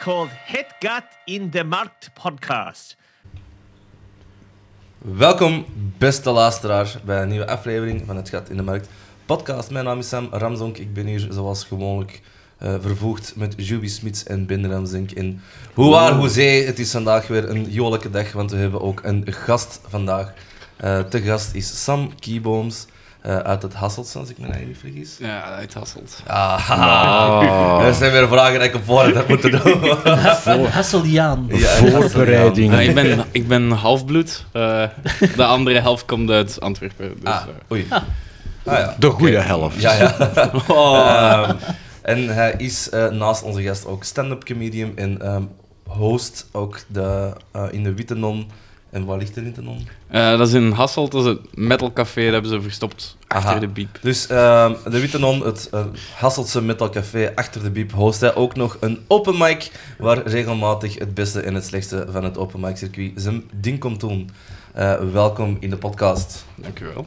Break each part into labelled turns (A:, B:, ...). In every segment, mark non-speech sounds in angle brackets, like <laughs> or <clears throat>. A: called Hetgat in the Markt podcast.
B: Welkom, beste luisteraars, bij een nieuwe aflevering van Het Gat in de Markt podcast. Mijn naam is Sam Ramzonk. Ik ben hier zoals gewoonlijk eh, vervoegd met Juby Smits en Ben Ramzonk. En hoe waar, hoe zee, het is vandaag weer een jolijke dag, want we hebben ook een gast vandaag. Eh, te gast is Sam Kiebooms eh, uit het Hassels, als ik me niet vergis.
C: Ja, uit Hasselt.
B: Ah, haha. <laughs> dat zijn weer vragen die ik op voorhand had moeten doen.
D: Hasseliaan.
B: Ja,
E: Voorbereiding.
B: <laughs>
C: ik, ben, ik ben halfbloed. Eh, de andere <laughs> helft komt uit Antwerpen. Dus,
B: Ah,
C: eh.
B: oei. Ah, ja.
E: De goede helft.
B: Ja, ja. Ehm, en hij is eh, naast onze gast ook stand-up comedian en ehm, host ook de, eh, in de Witte Non. En waar ligt de Witte Non?
C: Eh, dat is in Hasselt, dat is het metal café, dat hebben ze verstopt achter
B: Aha.
C: de biep.
B: Dus ehm, de Witte Non, het eh, Hasseltse Metal Café achter de biep, host hij ook nog een open mic waar regelmatig het beste en het slechtste van het open mic circuit zijn ding komt doen. Eh, welkom in de podcast.
C: Dankjewel.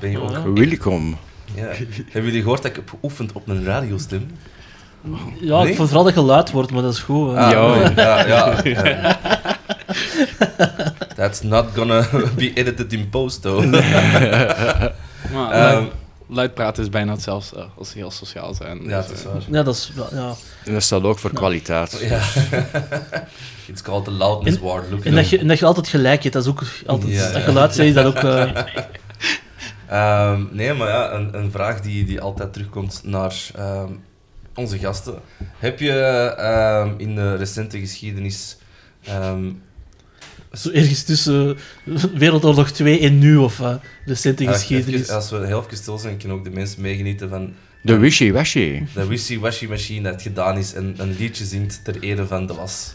B: Ben je ook?
E: Welkom.
B: Ja. Hebben jullie gehoord dat ik heb geoefend op een radiostem?
D: Ja,
B: Nee?
D: ik vond vooral dat geluid wordt, maar dat is goed. hè.
B: Ah,
C: Ja.
B: nee, ja, ja,
D: <laughs>
B: ja. That's not gonna <laughs> be edited in post, though.
C: Maar,
B: Ehm,
C: luid, luid praten is bijna hetzelfde eh, als heel sociaal zijn.
B: ja,
C: Dus,
B: dat is
C: eh,
B: waar.
D: Ja, dat is... wel- Ja.
E: En dat staat ook voor kwaliteit.
B: Ja. <laughs> It's called the loudness war. Look
D: En, dat je, en dat je altijd gelijk hebt, dat is ook altijd...
B: Ja, ja.
D: Dat geluid zeg je dat ook... eh,
B: Ehm, nee, maar ja, een, een vraag die, die altijd terugkomt naar ehm, onze gasten. Heb je ehm, in de recente geschiedenis... ehm,
D: zo ergens tussen Wereldoorlog 2 en nu, of eh, recente
B: als-
D: geschiedenis.
B: even- als we heel even stil zijn, kunnen ook de mensen meegenieten van
E: De wishy-washy.
B: de wishy-washy machine dat het gedaan is en een liedje zingt ter ere van de was.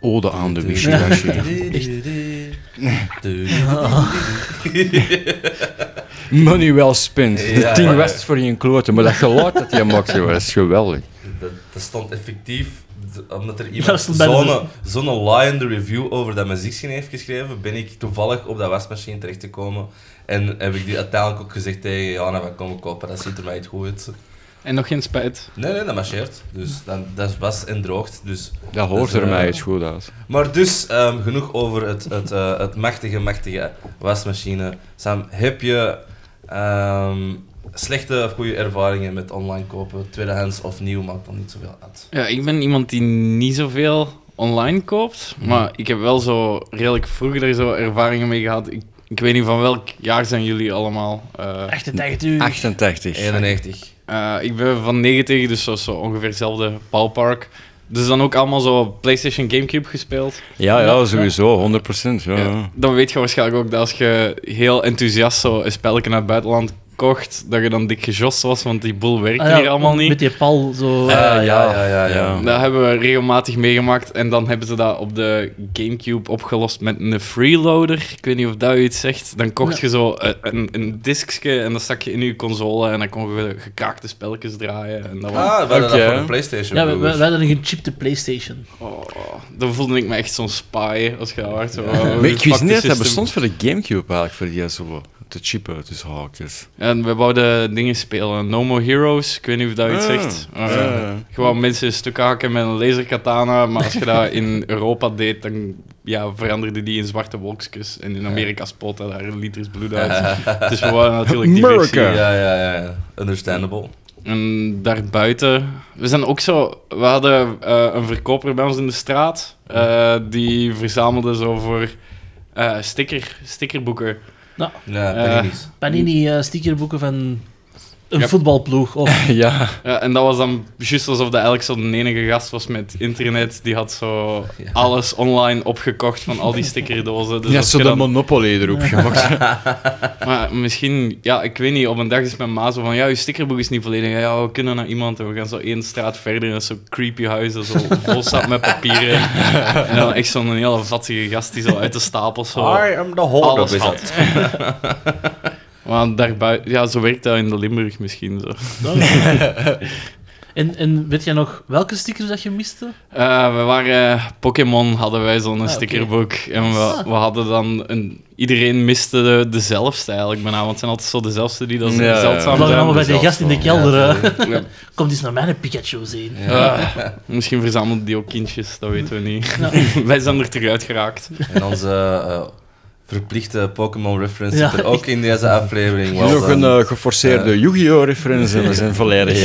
E: Ode aan de wishy-washy. Manuel Spins.
B: Ja,
E: De
B: ja,
E: tien
B: ja.
E: was voor je kloten, maar dat geluid dat je maakt, joh, dat is geweldig.
B: <laughs> Dat, dat stond effectief, d- omdat er
D: Dat
B: iemand
D: stond bij de-
B: zo'n zo'n laaiende review over dat muziekschema heeft geschreven, ben ik toevallig op dat wasmachine terecht te komen. En heb ik die uiteindelijk ook gezegd tegen Jana van kom kopen, dat ziet er mij niet goed uit.
C: En nog geen spijt.
B: Nee, nee, dat marcheert. Dus dan, dat was en droogt. Dus.
E: Dat hoort
B: Dus,
E: er
B: eh,
E: mij eens goed uit.
B: Maar dus, ehm, genoeg over het, het, eh, het machtige, machtige wasmachine. Sam, heb je ehm, slechte of goede ervaringen met online kopen? Tweedehands of nieuw, maakt dan niet zoveel uit.
C: Ja, ik ben iemand die niet zoveel online koopt, maar ik heb wel zo redelijk vroeger er zo ervaringen mee gehad. Ik, ik weet niet van welk jaar zijn jullie allemaal. eh,
D: 88 uur.
E: 88.
B: 91.
C: Eh, ik ben van 90, dus zo, zo ongeveer hetzelfde ballpark. Dus dan ook allemaal zo PlayStation Gamecube gespeeld.
E: Ja, ja, sowieso, 100%. Ja.
C: Ja, Dan weet je waarschijnlijk ook dat als je heel enthousiast zo een spelletje naar het buitenland kocht, dat je dan dik gejost was, want die boel werkte
D: Ah, ja,
C: hier allemaal niet.
D: Met die pal, zo...
B: Eh, ja, ja,
E: ja.
B: ja, ja. Ah,
E: Ja.
C: Dat hebben we regelmatig meegemaakt. En dan hebben ze dat op de Gamecube opgelost met een freeloader. Ik weet niet of dat u iets zegt. Dan kocht je zo eh, een, een diskje en dat stak je in je console. En dan kon je gekaakte spelletjes draaien. En dat was...
B: Ah, we hadden dat
E: Oké.
B: voor de PlayStation.
D: ja, we, we,
B: broer.
D: we hadden een gechipte Playstation.
C: Oh, dan voelde ik me echt zo'n spy als je dat werd. Zo,
E: Maar ik wist niet dat dat bestond voor de Gamecube eigenlijk, voor die zo te chippen tussen haakjes.
C: En we wouden dingen spelen. No More Heroes, ik weet niet of dat iets
E: Ah,
C: zegt.
E: ja.
C: Eh, Gewoon mensen een stuk haken met een laser katana. Maar als je dat in Europa deed, dan ja, veranderde die in zwarte wolkjes. En in Amerika spotte daar liters bloed uit.
E: <laughs>
C: dus we wouden natuurlijk diversie.
E: America.
B: Ja, ja, ja, ja. Understandable.
C: En daarbuiten, we zijn ook zo. We hadden eh, een verkoper bij ons in de straat. eh, die verzamelde zo voor eh, sticker, stickerboeken.
B: Ja,
C: Eh,
B: paninis.
D: Panini eh, stickerboeken van een
C: Ja.
D: voetbalploeg, of...
E: <laughs> Ja,
C: Ja, Eh, en dat was dan juist alsof dat eigenlijk zo'n enige gast was met internet. Die had zo
B: Ja.
C: alles online opgekocht van al die stickerdozen. Dus
E: ja
C: als
E: zo
C: je
E: de
C: dan-
E: Monopoly erop <laughs> gemaakt.
C: maar misschien, ja, ik weet niet, op een dag is mijn ma zo van, ja, je stickerboek is niet volledig. Ja, we kunnen naar iemand en we gaan zo één straat verder en zo'n creepy huis dat zo
D: <laughs>
C: vol staat met papieren. en dan echt zo'n hele vattige gast die zo uit de stapels zo
B: am the
C: alles
B: is
C: had. Maar daarbuiten, ja, zo werkt dat in de Limburg misschien zo.
D: En, en weet jij nog welke stickers dat je miste?
C: Eh, we waren... Pokémon hadden wij zo'n
D: Ah, oké.
C: stickerboek. En we,
D: Ah.
C: we hadden dan... Een, iedereen miste de, dezelfde eigenlijk bijna. Want het zijn altijd zo dezelfde die dan
E: Ja, ja.
C: zeldzaam
D: We
E: Waarom
C: zijn.
D: waren allemaal bij die
E: zelfs
D: gast in de
E: wel,
D: kelder. eh. hè.
C: Ja.
D: Komt eens naar mijn Pikachu zien.
C: Ah, misschien verzamelde die ook kindjes, dat weten we niet. <laughs> wij zijn er terug uit geraakt.
B: En onze eh, verplichte Pokémon-reference
D: Ja.
B: zit er ook in deze aflevering. wel
E: Nog een
B: dan.
E: eh, geforceerde Yu-Gi-Oh-referentie. <laughs> We zijn volledig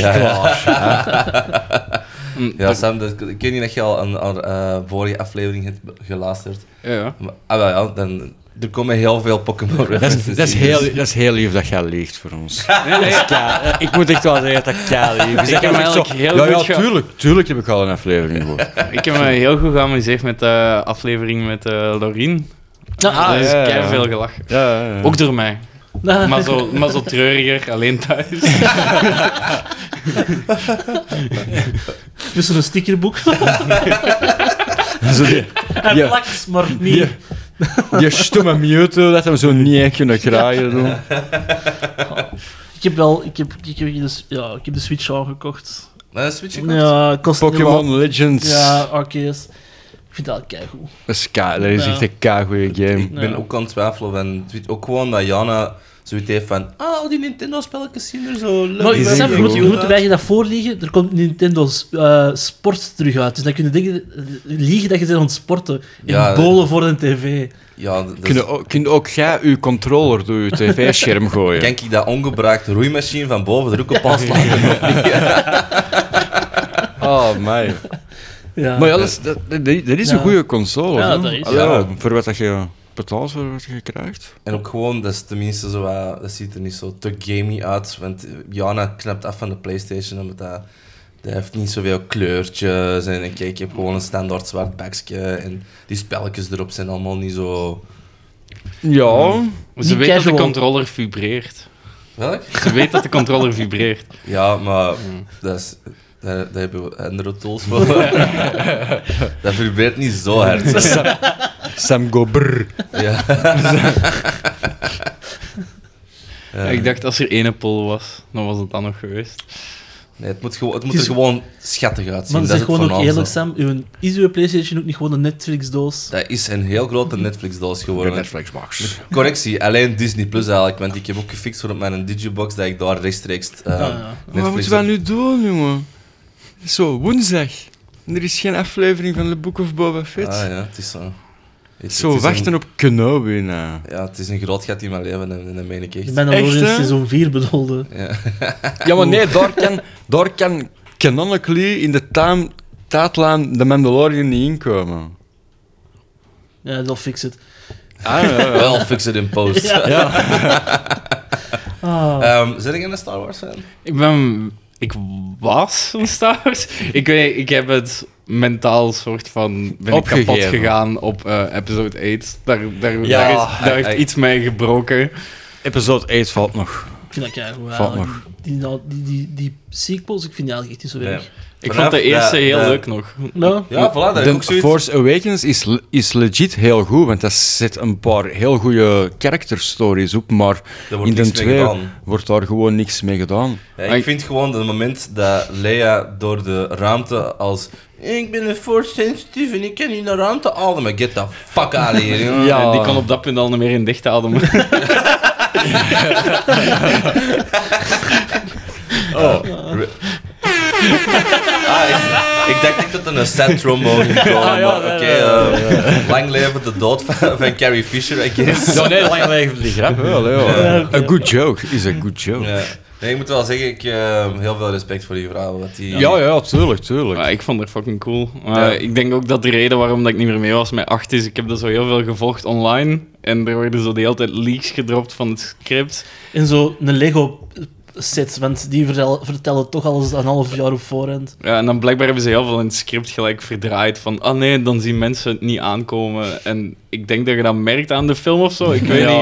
B: <laughs> Ja.
E: klaar.
C: Mm,
B: Ja,
C: dat-
B: Sam, dat- ik weet niet dat je al een, een, eh, vorige aflevering hebt geluisterd.
C: ja, ja.
B: Maar, ah, wel ja, dan, er komen heel veel
E: <laughs> Dat is,
B: Pokémon-references
E: dat, is
B: in,
E: heel,
B: dus-
E: dat is heel lief dat jij liegt voor ons. Dat is kei- ik moet echt wel zeggen dat dat kei lief is.
C: Ik
E: Dat
C: heb
E: jij
C: eigenlijk
E: zegt zo,
C: heel
E: ja,
C: goed
E: ja,
C: ge-
E: tuurlijk, tuurlijk heb ik al een aflevering gehoord.
C: Ik heb me heel goed geamuseerd met de aflevering met eh Lorien.
D: Ah,
C: er is
E: ja, ja.
C: keihard veel gelachen.
E: Ja, ja, ja.
C: Ook door mij.
D: Nou,
C: eh, Maar zo, maar zo treuriger, alleen thuis.
D: Dus een stickerboek. <laughs>
E: Zo die,
D: Hij
E: Ja.
D: plakt, maar niet.
E: die, die stomme Mewtwo, dat hem zo niet echt kunnen krijgen. doen.
D: Ik heb wel... Ik heb, ik, heb de, ja, ik heb de Switch al gekocht.
B: Maar een Switch gekocht?
D: Ja, het kost
E: Pokémon Legends.
D: Niet wat. Ja, Arceus. Ik vind dat keigoed.
E: Dat is, kei- dat is
D: Ja.
E: echt een keigoeie game.
B: Ik ben ook aan het twijfelen. En het weet ook gewoon dat Jana zoiets heeft van... Ah, al die Nintendo-spelletjes zien er zo leuk
D: Maar
B: uit.
D: Sam, je
B: Goed
D: moet, je moet
B: uit.
D: wij je dat voorliegen. Er komt Nintendo eh, Sport terug uit. Dus dan kun je denken, liegen dat je bent aan het sporten. In
B: Ja,
D: bolen voor een tv.
B: Ja, dat is-
E: Kun je ook- kun je ook jij uw controller door je tv-scherm gooien?
B: Kan ik dat ongebruikte roeimachine van boven de
E: <laughs>
B: roek op aanslaan?
E: Oh, my.
D: Ja.
E: Maar ja, dat is, dat, dat- dat is
D: Ja.
E: een goede console.
D: Ja,
E: hè?
D: dat is.
E: Allee,
B: Ja.
E: Voor wat dat je betaalt, voor wat je krijgt.
B: En ook gewoon, dat is tenminste zo wat- dat ziet er niet zo te gamey uit, want Jana knapt af van de Playstation, omdat dat, dat heeft niet zoveel kleurtjes en kijk, ik heb gewoon een standaard zwart bakje en die spelletjes erop zijn allemaal niet zo...
E: Ja,
C: Ze weet dat de
D: casual.
C: controller vibreert.
B: Welk?
C: Ze weet dat de controller vibreert.
B: Ja, maar
D: Hmm.
B: dat is, daar, daar hebben we andere tools voor. <laughs> dat vibreert niet zo
D: <laughs>
B: hard.
E: Sam, Sam go brr.
B: Ja. Ja.
C: Ik dacht, als er één pol was, dan was het dan nog geweest.
B: Nee, het moet, gewo- het moet
D: Het
B: er
D: is-
B: gewoon schattig
D: maar
B: uitzien.
D: zeg
B: dat is het
D: gewoon ook
B: voornaamste.
D: eerlijk, Sam. Uw, is uw PlayStation ook niet gewoon een Netflix-doos?
B: Dat is een heel grote Netflix-doos
E: De
B: geworden.
E: Netflixbox.
B: Correctie, alleen Disney Plus eigenlijk, want ik heb ook gefixt voor op mijn Digibox dat ik daar rechtstreeks eh,
D: ja.
E: Wat
B: Netflix
E: moeten we nu doen, jongen? Het is Zo, woensdag. En Er is geen aflevering van The Book of Boba
B: heb.
E: Fett.
B: Ah ja, het is zo. Het-
E: Zo,
B: het is
E: wachten
B: een-
E: op Kenobi nou. na.
B: Ja, het is een groot gat in mijn leven en, en dat meen ik echt.
D: De Mandalorian
E: Echt, hè?
D: seizoen 4 bedoelde.
B: Ja.
E: Ja, maar nee, daar kan, daar kan canonically in de taam- tijdlijn de Mandalorian niet inkomen.
D: Ja, dat fix het.
E: Ah, ja, ja.
B: Wel, fix it in post.
D: <laughs> Ja. Ah.
B: Ehm, zijn jij een Star Wars fan?
C: Ik ben... Ik was een Star Wars. Ik, weet, ik heb het mentaal soort van... Ben ik kapot
E: Opgegeven.
C: gegaan op eh, episode 8. Daar, daar,
E: Ja,
C: daar, is, daar
B: I-
C: heeft
B: I-
C: iets mee gebroken.
E: Episode 8 valt nog.
D: Ik vind dat keigoed.
E: Valt
D: eigenlijk. Die, die, die, die sequels, ik vind die eigenlijk echt niet zo
B: Nee.
D: erg.
C: Ik
B: Vanaf
C: vond de eerste
B: dat-
C: heel
B: dat-
C: leuk nog.
D: Nou,
B: Ja, voilà, dat heb ik ook
E: De
B: zoiets.
E: Force Awakens is, le- is legit heel goed, want daar zit een paar heel goede character stories op, maar
B: Daar wordt
E: in de
B: niks mee
E: twee
B: gedaan.
E: wordt daar gewoon niks mee gedaan.
B: Ja,
C: Maar
B: ik
C: ik-
B: vind gewoon dat het moment dat Leia door de ruimte als... Ik ben een force sensitive en ik kan in de ruimte ademen. Get the fuck out of
C: <laughs>
B: here. jongen.
E: Ja.
C: Eh, Die kon op dat punt al niet meer in dichte ademen.
B: Oh. Re- <laughs> Ah, is- ik dacht echt dat er een sad trombone ging komen,
E: Ah, ja,
B: maar
E: nee,
B: oké.
E: nee,
B: eh, Lang leven de dood van, van Carrie Fisher, I guess.
E: <laughs> Ja, nee, lang leven die grap wel.
D: Ja, oké.
E: A good joke is a good joke.
B: Ja. Nee, ik moet wel zeggen, ik eh, heel veel respect voor die vrouw. Want die,
E: Ja, ja, tuurlijk, tuurlijk.
C: Maar ik vond het fucking cool. Maar
B: Ja.
C: Ik denk ook dat de reden waarom dat ik niet meer mee was met 8 is, ik heb dat zo heel veel gevolgd online. En er worden zo de hele tijd leaks gedropt van het script.
D: En zo een Lego-set, want die vertel- vertellen toch alles een half jaar op voorhand.
C: Ja, en dan blijkbaar hebben ze heel veel in het script gelijk verdraaid van ah nee, dan zien mensen het niet aankomen. En ik denk dat je dat merkt aan de film of zo. Ik weet niet.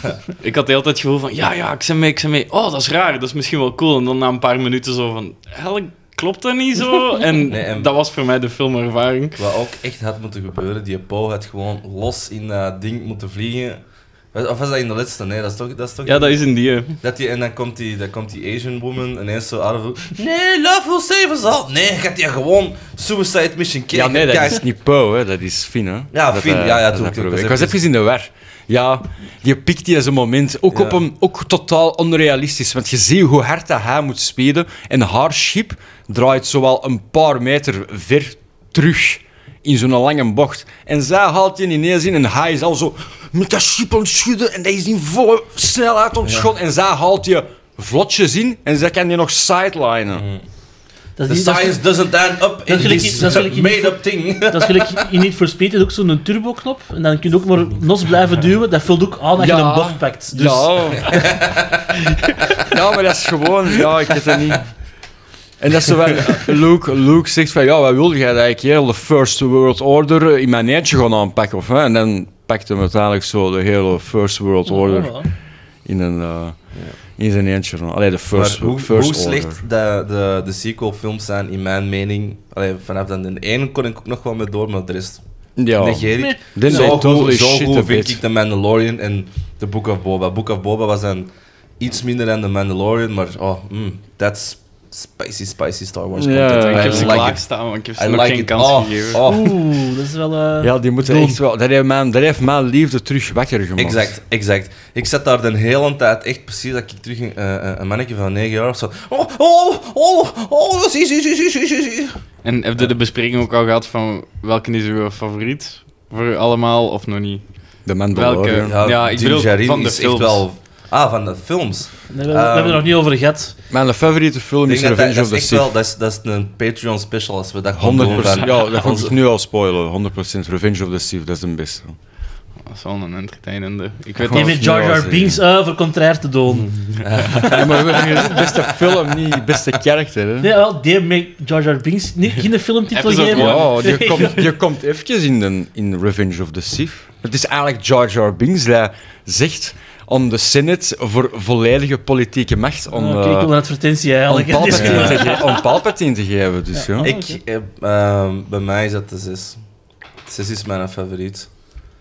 E: Ja.
C: <laughs> Ik had de hele tijd het gevoel van ja, ja, ik ben mee, ik ben mee. Oh, dat is raar, dat is misschien wel cool. En dan na een paar minuten zo van hel, klopt dat niet
B: <laughs>
C: zo? En,
B: Nee, en-
C: dat was voor mij de filmervaring.
B: Wat ook echt had moeten gebeuren, die Po had gewoon los in dat ding moeten vliegen. Of was dat in de laatste? Nee, dat is toch... Dat is toch
C: Ja, dat is een die. hè.
B: Dat die, en dan komt die, dan komt die Asian woman ineens zo out of... the- Nee, love will save us all. Nee, gaat die gewoon Suicide Mission kijken.
E: Ja, nee, dat
B: Kijk,
E: is niet Poe, hè. dat is Finn. Hè.
B: Ja,
E: dat,
B: Finn,
E: eh,
B: ja, ja,
E: dat
B: tuurlijk,
E: dat
B: tuurlijk,
E: Ik
B: dat
E: was
B: is
E: even in de war. Ja, die pikt die zijn moment. Ook,
B: Ja.
E: op een, ook totaal onrealistisch. Want je ziet hoe hard dat hij moet spelen. En haar schip draait zowel een paar meter ver terug in zo'n lange bocht. En zij haalt je ineens in en hij is al zo met dat schip aan het schudden. En dat is in volle snelheid ontschot. En zij haalt je vlotjes in en zij kan je nog
B: Mm.
E: sidelinen.
D: Dat
B: The
D: is, niet- dat is-
B: science doesn't add up in
D: gelijk-
B: this
D: dat is gelijk-
B: made-up thing.
D: <laughs> dat is gelijk in Need for Speed, is ook zo'n turboknop. En dan kun je ook maar los blijven duwen. Dat vult ook aan dat je
E: Ja.
D: een bocht pakt. Dus
E: Ja. <laughs> ja, maar dat is gewoon... Ja, ik weet het niet. En dat ze wel... Luke, Luke zegt van... Ja, wat wil jij eigenlijk? Heel de First World Order eh, in mijn eentje gaan aanpakken. Of, hè? En dan pakt hem uiteindelijk zo de hele First World Order
D: Ja.
E: in, een, eh, in zijn eentje. aan. Allee, de
B: Maar
E: First,
B: hoe,
E: first
B: hoe
E: Order.
B: slecht de, de, de sequel-films zijn, in mijn mening. Allee, vanaf dan in één kon ik ook nog wel mee door, maar de rest
E: Ja.
B: negeer ik.
E: Then
B: zo
E: they
B: goed,
E: totally
B: zo
E: shit
B: goed
E: a
B: vind
E: bit.
B: ik The Mandalorian en The Book of Boba. Book of Boba was dan iets minder dan The Mandalorian, maar oh, mm, that's spicy, spicy Star Wars
E: Ja,
B: content.
E: ik
B: I
C: Ik heb ze
B: like it.
C: klaarstaan, want ik heb ze
B: I
C: nog
B: like
C: geen
B: it.
C: kans
B: Oh,
C: gegeven.
B: oh.
D: Oeh, dat is wel... eh,
E: Ja, die moeten
D: Doen.
E: echt wel... Dat heeft, mijn, dat heeft mijn liefde terug wakker gemaakt.
B: Exact, exact. Ik zat daar de hele tijd echt precies dat ik terug een, eh, een mannetje van 9 jaar of zo. Oh, oh, oh, oh, zie, zie, zie, zie, zie, zie, zie.
C: En heb je de bespreking ook al gehad van welke is uw favoriet? Voor u allemaal of nog niet?
E: De Mandalorian.
C: Welke? Ja, ik
B: Jim
C: bedoel,
B: Jarrin
C: van de
B: is
C: films.
B: echt wel. Ah, van de films.
D: we, we hebben het nog niet over gehad.
E: Mijn favoriete film is
B: Ik denk dat
E: Revenge
B: dat, dat
E: of the
B: is echt
E: Sith.
B: wel, dat is, dat is een Patreon special als we dat gaan
E: 100
B: doen. van-
E: Ja, dat ga ik
B: onze-
E: nu al spoilen. 100% Revenge of the Sith, dat is de beste.
C: Dat is wel een entertainende. Ik weet
E: Gewoon-
C: niet.
D: Even
E: het
D: Jar
E: niet
D: Jar
E: wel
D: Binks eh, voor contrair te
E: Mhm.
D: doen.
E: Ja, maar we hebben beste film, niet beste karakter. Hè?
D: Nee, wel, die met Jar Jar Binks. Nee, geen filmtitel
C: Episode
D: geven.
C: one.
E: Ja,
D: <laughs> Nee.
E: je Oh, komt, je komt eventjes in, de, in Revenge of the Sith. Het is eigenlijk Jar Jar Binks die zegt aan de Senate voor volledige politieke macht om,
D: Oké,
E: eh,
D: ik wil een advertentie
E: om,
D: eigenlijk. <laughs>
E: Palpatine, te ge- <laughs> om Palpatine te geven. Dus, ja.
B: Ik, eh, ehm, bij mij is dat de 6. 6 is mijn favoriet.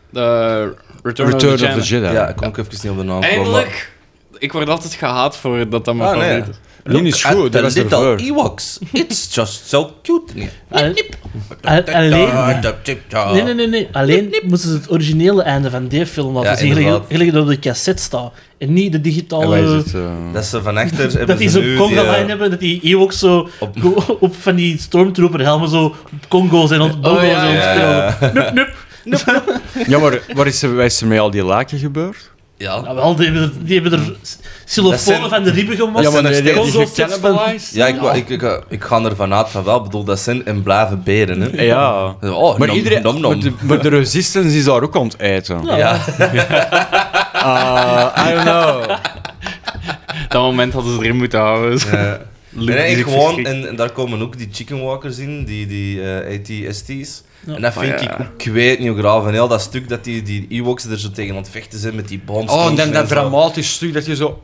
C: De Eh, Return,
E: Return
C: of the, Jedi.
E: Jedi.
B: Ja, ik kon ik even niet op de naam komen.
C: Eindelijk! Ik word altijd gehaat voor dat dat mijn
B: Ah, nee.
C: favoriet is.
E: Die is
B: Look
E: goed,
B: at
E: dat is
B: the little
E: ervoor.
B: Ewoks. It's just so cute.
D: Al- al- Alleen... Nee, nee, nee, nee. Alleen moesten ze het originele einde van die film laten
B: Ja,
D: zien.
B: inderdaad.
D: Gelijk dat op de cassette staat. En niet de digitale...
E: En wij zitten, <laughs> eh,
B: Dat ze van achter hebben
D: dat die
B: ze nu
D: zo'n Congo-lijn
B: die, eh,
D: hebben, dat die Ewoks zo
B: Op-
D: op, op van die stormtrooper-helmen zo Congo's en ont- Bongo's
C: ja,
B: Oh,
D: en
B: ja,
D: ontspelen.
B: ja.
D: Nup, nup.
E: Ja, maar waar is er, waar is er met al die laken gebeurd?
B: Ja.
D: Nou wel, die hebben er, die hebben er xylofonen
B: Dat zijn-
D: van de ribben gemaakt.
B: Ja, maar die- die- die
D: Congo's sets van-
B: Ja, ik, wou- ik, ik, ik ga ervan uit van wel. Ik bedoel, dat zijn en blijven beren. Hè.
E: Ja.
B: Oh,
E: Maar,
B: nom,
E: iedereen,
B: nom, nom.
E: Maar, de, maar de Resistance is daar ook aan het eten.
D: Ja.
B: Ja.
E: Ah, I don't know.
C: Dat moment hadden ze erin moeten houden. dus.
B: Eh, <laughs>
C: Luke
B: nee,
C: die zich
B: gewoon,
C: verschrikt.
B: en, en daar komen ook die chicken walkers in, die, die eh ATST's.
D: Ja.
B: En dat
C: Maar
B: vind
C: ja.
B: ik ook, ik weet niet hoe graaf, en heel dat stuk dat die, die Ewoks er zo tegen aan het vechten zijn met die bombs.
E: <laughs> Oh, en dan dat dramatisch stuk dat je zo...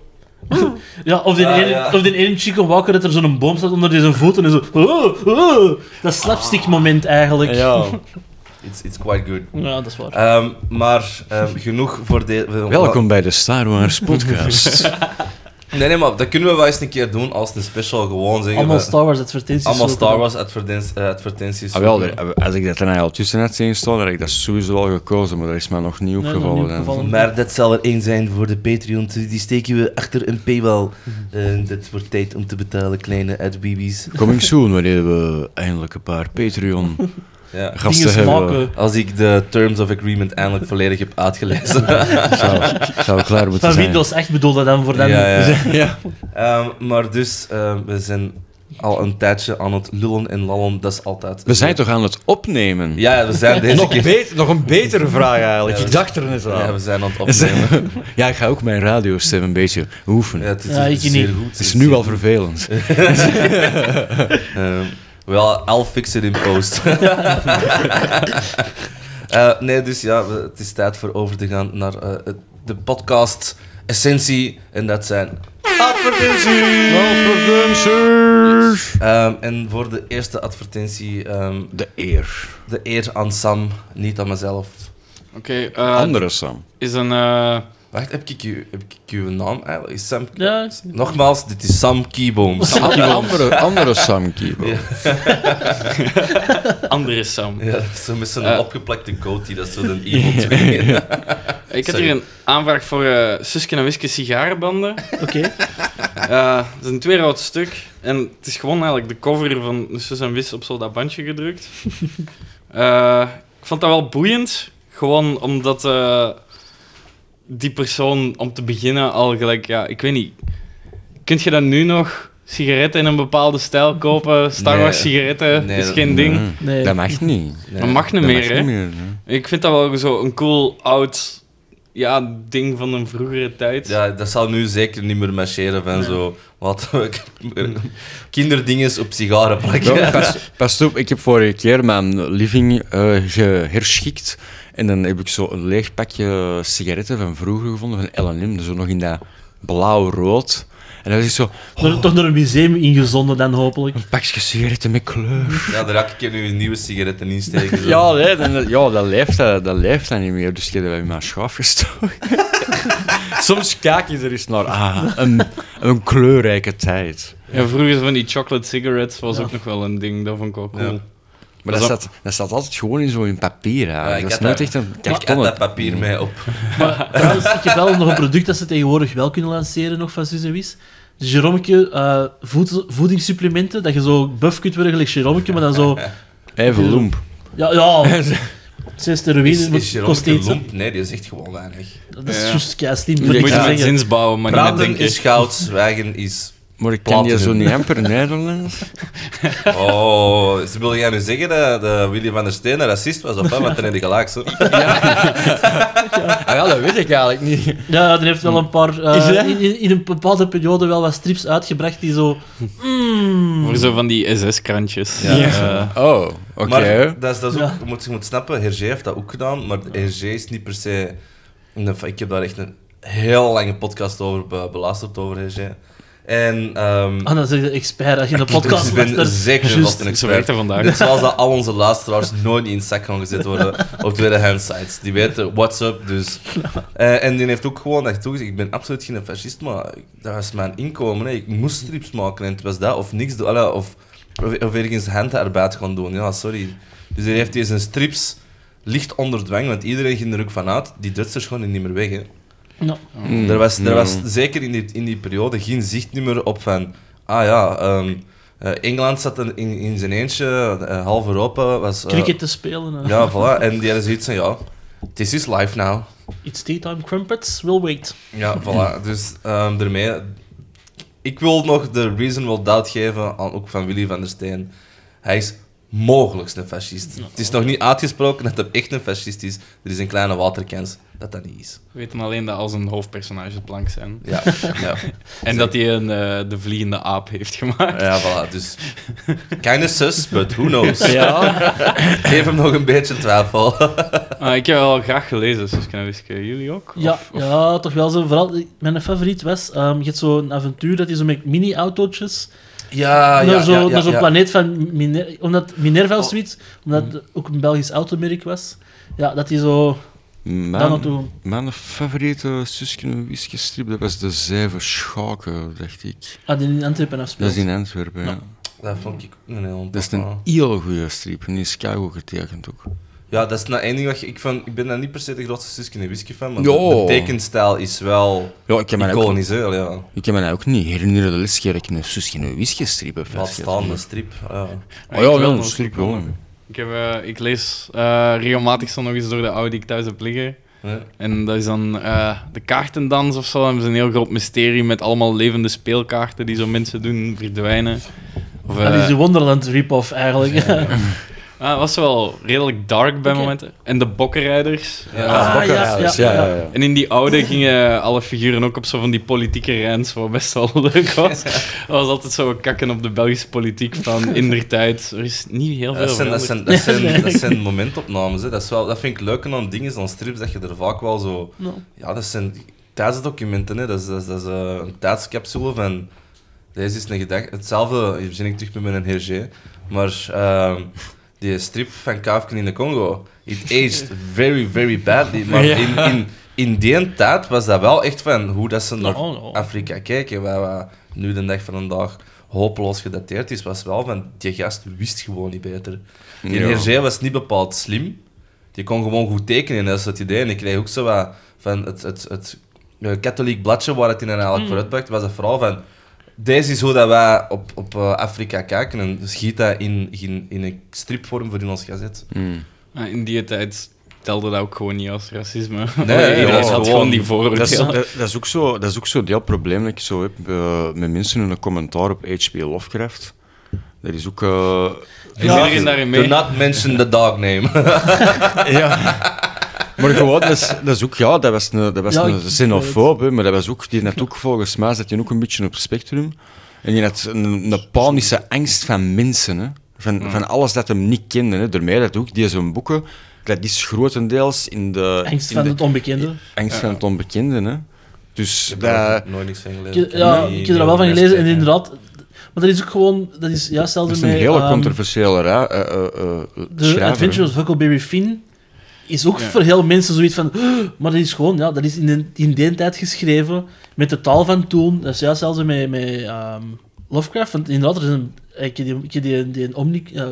D: Ja, of die,
B: Ah,
D: ene,
B: ja.
D: of die ene chicken walker dat er zo'n boom staat onder zijn voeten en zo... "Oh, oh." dat slapstick moment eigenlijk.
E: Ja.
B: <laughs> It's, it's quite good.
D: Ja, dat is waar.
B: Ehm, maar ehm, genoeg voor de... voor-
E: Welkom bij de Star Wars podcast.
B: Nee, nee, maar dat kunnen we wel eens een keer doen als een special gewoon zeggen...
D: Allemaal
B: we-
D: Star Wars advertenties.
B: allemaal
D: zoeken.
B: Star Wars advertenties. eh, advertenties
E: <laughs> ah, wel, er- als ik dat er nou al tussen had zien staan, had ik dat sowieso al gekozen, maar dat is mij nog niet
D: nog
E: opgevallen.
D: niet opgevallen.
B: Maar dat zal er één zijn voor de Patreon. dus Die steken we achter een paywall.
D: Mhm.
B: Eh, dat wordt tijd om te betalen, kleine adweebies.
E: Coming soon, wanneer we eindelijk een paar
D: <laughs>
E: Patreon-gasten
B: Ja.
D: Dingen
E: hebben.
D: smaken.
B: Als ik de Terms of Agreement eindelijk volledig heb uitgelezen.
E: Zou, zou klaar moeten
D: Van
E: zijn.
D: Windows 8 bedoelde dan voor
B: Ja,
D: dan...
B: ja.
E: Ja.
B: Ehm, maar dus, ehm, we zijn al een tijdje aan het lullen en lallen. Dat is altijd...
E: We zijn toch aan het opnemen?
B: Ja, ja, we zijn deze
E: <laughs> Nog,
B: keer...
E: beter, nog een betere vraag eigenlijk.
B: Ja,
E: ik
B: dat-
E: dacht er net aan.
B: Ja, we zijn aan het opnemen.
E: Ja, ik ga ook mijn radiostem een beetje oefenen.
B: Ja, het is,
D: Ja,
B: het
D: ik
B: is
D: niet.
B: zeer goed.
E: Het is nu al vervelend.
B: Ehm, wel, I'll fix it in post. Eh, nee, dus ja, we- het is tijd voor over te gaan naar eh, het- de podcast essentie. En dat zijn advertenties. Ehm, en voor de eerste advertentie, ehm,
E: De eer.
B: de eer aan Sam, niet aan mezelf.
C: Oké, eh,
E: Andere Sam.
C: is een eh,
B: Wacht, heb ik, u, heb ik uw naam eigenlijk? Is Sam...
D: Ja,
B: Nogmaals, dit is Sam Keyboom. Sam-
E: Andere, andere Sam Kibo.
B: Ja.
C: Andere Sam.
B: ja, dat is zo met zo'n
C: Eh.
B: opgeplakte goatee, dat is zo'n evil twin.
C: Ik had
B: Sorry.
C: hier een aanvraag voor eh Suske en Wiske sigarenbanden.
D: <laughs> oké.
C: Eh, het is een tweeroud stuk. En het is gewoon eigenlijk de cover van Sus en Wis op zo dat bandje gedrukt. Eh, ik vond dat wel boeiend. Gewoon omdat eh, die persoon om te beginnen al gelijk... Ja, ik weet niet. Kunt je dan nu nog sigaretten in een bepaalde stijl kopen? Star
B: Nee.
C: Wars sigaretten
B: Nee,
C: is
B: dat-
C: geen ding.
D: Nee.
E: Dat mag niet.
C: Dat mag niet
E: Dat
C: meer,
E: mag
C: hè?
E: niet meer, hè.
C: Ik vind dat wel zo een cool, oud... Ja, ding van een vroegere tijd.
B: Ja, dat zal nu zeker niet meer marcheren van zo... Wat, kinderdinges op sigaren plakken.
E: Ja, pas, pas op, ik heb vorige keer mijn living eh geherschikt. En dan heb ik zo een leeg pakje sigaretten van vroeger gevonden, van L&M, zo dus nog in dat blauw-rood. En dan was ik zo,
D: Door- toch naar een museum ingezonden dan, hopelijk.
E: een pakje sigaretten met kleur.
B: Ja, daar had ik hier nu een nieuwe sigaretten in steken. zo.
E: Ja, nee, dan, ja dat, leeft, dat, dat leeft dan niet meer, dus ik heb dat bij mijn schaaf gestoken. <laughs> Soms kijk je er eens naar, ah, een, een kleurrijke tijd.
C: Ja, vroeger van die chocolate cigarettes was ook nog wel een ding, dat vond ik ook cool.
B: Ja.
E: Maar dat,
C: Dat is
E: staat, dat staat altijd gewoon in zo'n papier.
B: Ja, ik
E: eigenlijk. dat is
B: had
E: nooit
B: dat-
E: echt een
B: Ik had
E: kartonnen.
B: dat papier mee op.
D: Trouwens, ik heb wel nog een product dat ze tegenwoordig wel kunnen lanceren nog van Suus en Wies. Jeromeke eh, voed- voedingssupplementen, dat je zo buff kunt worden gelijk Jeromeke, maar dan
B: <laughs>
D: zo...
E: Even loemp.
D: Ja, ja. Zijn
B: Is,
D: steroïden
B: is
D: moet-
B: Jerome
D: kost iets. hè.
B: lomp? Nee, die zegt gewoon weinig.
D: Dat is
C: Ja.
D: juist kei slim
C: Je
D: voor niks
C: moet
D: te
C: met
D: zeggen.
C: zins bouwen, maar niet met
B: Praten
C: denken.
B: is goud, zwijgen is...
E: Maar ik ken die zo
B: Platinum.
E: niet amper Nederlands.
B: Oh, ze willen jij nu zeggen dat, dat Willy van der Steen een racist was of wat? Want dan heb je gelijk, zo.
E: Ah ja, dat weet ik eigenlijk niet.
D: Ja, die heeft wel een paar... eh,
E: Is hij?
D: in, in, in een bepaalde periode wel wat strips uitgebracht die zo... Mm,
C: Voor zo van die SS-krantjes.
B: Ja.
C: Eh,
E: Oh, oké.
B: Maar dat is, dat is ook,
D: Ja.
B: je, moet, je moet snappen, Hergé heeft dat ook gedaan, maar Hergé is niet per se... een- Ik heb daar echt een heel lange podcast over be- beluisterd, over Hergé. En... ehm,
D: ah, dan zeg je expert, als je een
B: <laughs>
D: podcast
B: ik ben
D: luistert.
B: zeker
D: Juist.
B: wel een
C: Zo
B: expert.
C: werkt dat vandaag.
B: Net zoals dat al onze luisteraars nooit in het zak gaan gezet worden op tweedehand sites. Die weten what's up, dus. Eh, en die heeft ook gewoon echt toegezegd, ik ben absoluut geen fascist, maar dat was mijn inkomen. Hè. Ik moest strips maken en het was dat, of niks doen. Allee, of, of, of ergens handarbeid gaan doen, ja, sorry. Dus hij heeft deze strips licht onder dwang, want iedereen ging er ook vanuit, die Duitsers gaan die niet meer weg. Hè.
D: Ja.
E: Mm,
B: Er was, er
E: mm.
B: was zeker in die, in die periode geen zicht niet meer op van... Ah ja, ehm, eh, Engeland zat in, in, in zijn eentje, eh, half Europa was... eh,
D: Cricket te spelen. eh.
B: Ja, voilà. En die hadden zoiets van, ja, this is life now.
D: It's daytime crumpets, we'll wait.
B: Ja, <laughs> voilà. Dus ehm daarmee... Ik wil nog de reasonable doubt geven, aan, ook van Willy van der Steen. Hij is mogelijk een fascist. Het is nog niet uitgesproken dat hij echt een fascist is. Er is een kleine waterkans dat dat niet is.
C: We weten alleen dat als een hoofdpersonage blank zijn.
B: Ja, <laughs> ja.
C: En dat hij een, eh, de vliegende aap heeft gemaakt.
B: Ja, voilà. Dus keine sus, but who
D: <laughs>
B: knows.
E: Ja,
B: Geef hem nog een beetje twijfel. <laughs>
C: Ah, ik heb wel graag gelezen, Suske en Wiske. Jullie ook?
D: Ja,
C: Of- of-
D: ja, toch wel zo. Vooral, mijn favoriet was, ehm, je hebt zo'n avontuur dat is zo met mini-autootjes
B: Ah, Ja, Oh. Mm.
D: naar zo'n naar zo'n planeet van Miner omdat Minerva of zoiets, omdat het ook een Belgisch automerk was. Ja, dat die zo daar
E: mijn,
D: naartoe...
E: mijn favoriete Suske en Wiske strip, dat was de Zeven Schaken, dacht ik.
D: Ah, die in Antwerpen
E: Dat
D: afspeelt.
E: is in Antwerpen, ja.
B: Dat vond ik ook een heel
E: Dat is
B: tof,
E: een
B: man.
E: heel goede strip, en die is keigoed getekend ook.
B: Ja, dat is nou één ding wat je- ik van... Ik ben daar niet per se de grootste Suske en Whisky fan, maar
E: Ja.
B: de de tekenstijl is wel
E: Ja, ik kan me dat ook,
B: iconisch, hè. Allee, Ja.
E: ik kan me dat ook niet herinneren de laatste keer dat ik een Suske en Wiske strip heb
B: Laat
E: vastgezet.
B: staan, een strip. Ja.
E: Oh
C: Ik
E: ja,
C: wil
E: wel een
C: nog-
E: strip, wel.
C: Ik, heb, eh, ik lees eh, regelmatig zo nog eens door de oude die ik thuis heb liggen.
B: Ja.
C: En dat is dan eh, de kaartendans of zo. Dan hebben ze een heel groot mysterie met allemaal levende speelkaarten die zo mensen doen verdwijnen. Of,
D: Ah, die
C: eh,
D: is de Wonderland rip-off eigenlijk. <laughs>
C: Ah, was wel redelijk dark bij
D: Oké.
C: momenten. En de bokkenrijders.
B: Ja.
D: Ah,
E: Bakker-
D: ja, ja, ja.
C: En in die oude gingen alle figuren ook op zo van die politieke rants, wat best wel <laughs> leuk was. Dat was altijd zo kakken op de Belgische politiek van in der tijd. Er is niet heel veel
B: Dat zijn, dat,
C: veranderd.
B: zijn, dat,
C: <laughs>
B: zijn, dat zijn momentopnames. Hè. Dat, is wel, dat vind ik leuk aan dingen, zo'n strips, dat je er vaak wel zo...
D: Nou.
B: Ja, dat zijn tijdsdocumenten. Hè. Dat is, dat is, dat is, eh, een tijdscapsule van... Deze is een gedachte. Hetzelfde, hier ben ik terug met mijn Hergé. Maar ehm, die strip van Kaafken in de Congo, it aged very, very badly. Maar in, in, in die tijd was dat wel echt van hoe dat ze naar
C: Oh, oh.
B: Afrika kijken. Waar, wat nu de dag van vandaag hopeloos gedateerd is, was wel van die gast wist gewoon niet beter. Die
E: Ja.
B: Hergé was niet bepaald slim. Die kon gewoon goed tekenen, dat is het idee. En ik kreeg ook zo wat van het, het, het, eh, katholiek bladje waar het in en
D: Mm.
B: eigenlijk voor uitpakt, was het vooral van deze is hoe dat wij op, op eh, Afrika kijken en dus schiet dat in, in, in een stripvorm voor in ons gazet.
C: Maar Ah, in die tijd telde dat ook gewoon niet als racisme. <laughs>
B: Nee,
C: Allee,
B: ja,
C: iedereen
B: dat
C: had
B: is
C: gewoon die
E: Dat is,
C: vooroordelen.
E: dat, dat is ook zo, dat is ook zo deel probleem dat ik zo heb eh, met mensen in een commentaar op HP Lovecraft. Dat is ook... eh,
C: Is iedereen daarin
B: Do
C: mee?
B: not mention the dog name.
E: ja. <laughs> Maar gewoon, dat is, dat is ook, ja, dat was een, dat was
D: Ja, ik-
E: een xenofoob, hè, maar dat was ook, die had ook volgens mij, zat je ook een beetje op het spectrum. En die had een, een panische angst van mensen, hè. Van,
C: Mm.
E: van alles dat hem niet kende. Hè. Daarmee dat ook, die zijn boeken, dat is grotendeels in de...
D: Angst
E: in
D: van
E: de-
D: het onbekende.
E: Angst van het onbekende, hè. Dus, dat,
B: Daar nooit niks van gelezen.
D: Ik, ja,
B: Nee,
D: ik heb er wel
B: nee,
D: van gelezen en
B: nee.
D: inderdaad... Maar dat is ook gewoon... Dat is juist zelfs
E: dat is een hele controversiële ra- eh, eh, eh,
D: De
E: schrijver, hè.
D: Adventures of Huckleberry Finn is ook
C: Ja.
D: voor heel mensen zoiets van... <gasps> "Huh," Maar dat is gewoon... Ja, dat is in, de, in die tijd geschreven, met de taal van toen. Dat is juist zelfs met, met ehm, Lovecraft. Want inderdaad, er is een... eh, Ik heb die, ik heb die, die een omni, eh,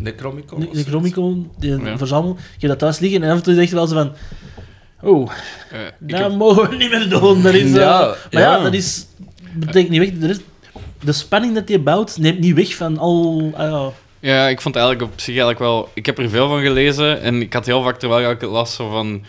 B: Necromicon.
D: de Necromicon, die een
C: Ja.
D: verzamel. Ik heb dat thuis liggen en af en toe zegt wel zo van... Oh,
C: Eh, ik
D: dat
C: heb-
D: mogen we niet meer doen. Dat is, eh,
E: Ja,
D: maar ja,
E: ja.
D: dat is... betekent niet weg. Er is, de spanning dat je bouwt neemt niet weg van al... ah ja.
C: Ja, ik vond eigenlijk op zich eigenlijk wel... Ik heb er veel van gelezen en ik had heel vaak terwijl ik het las zo van...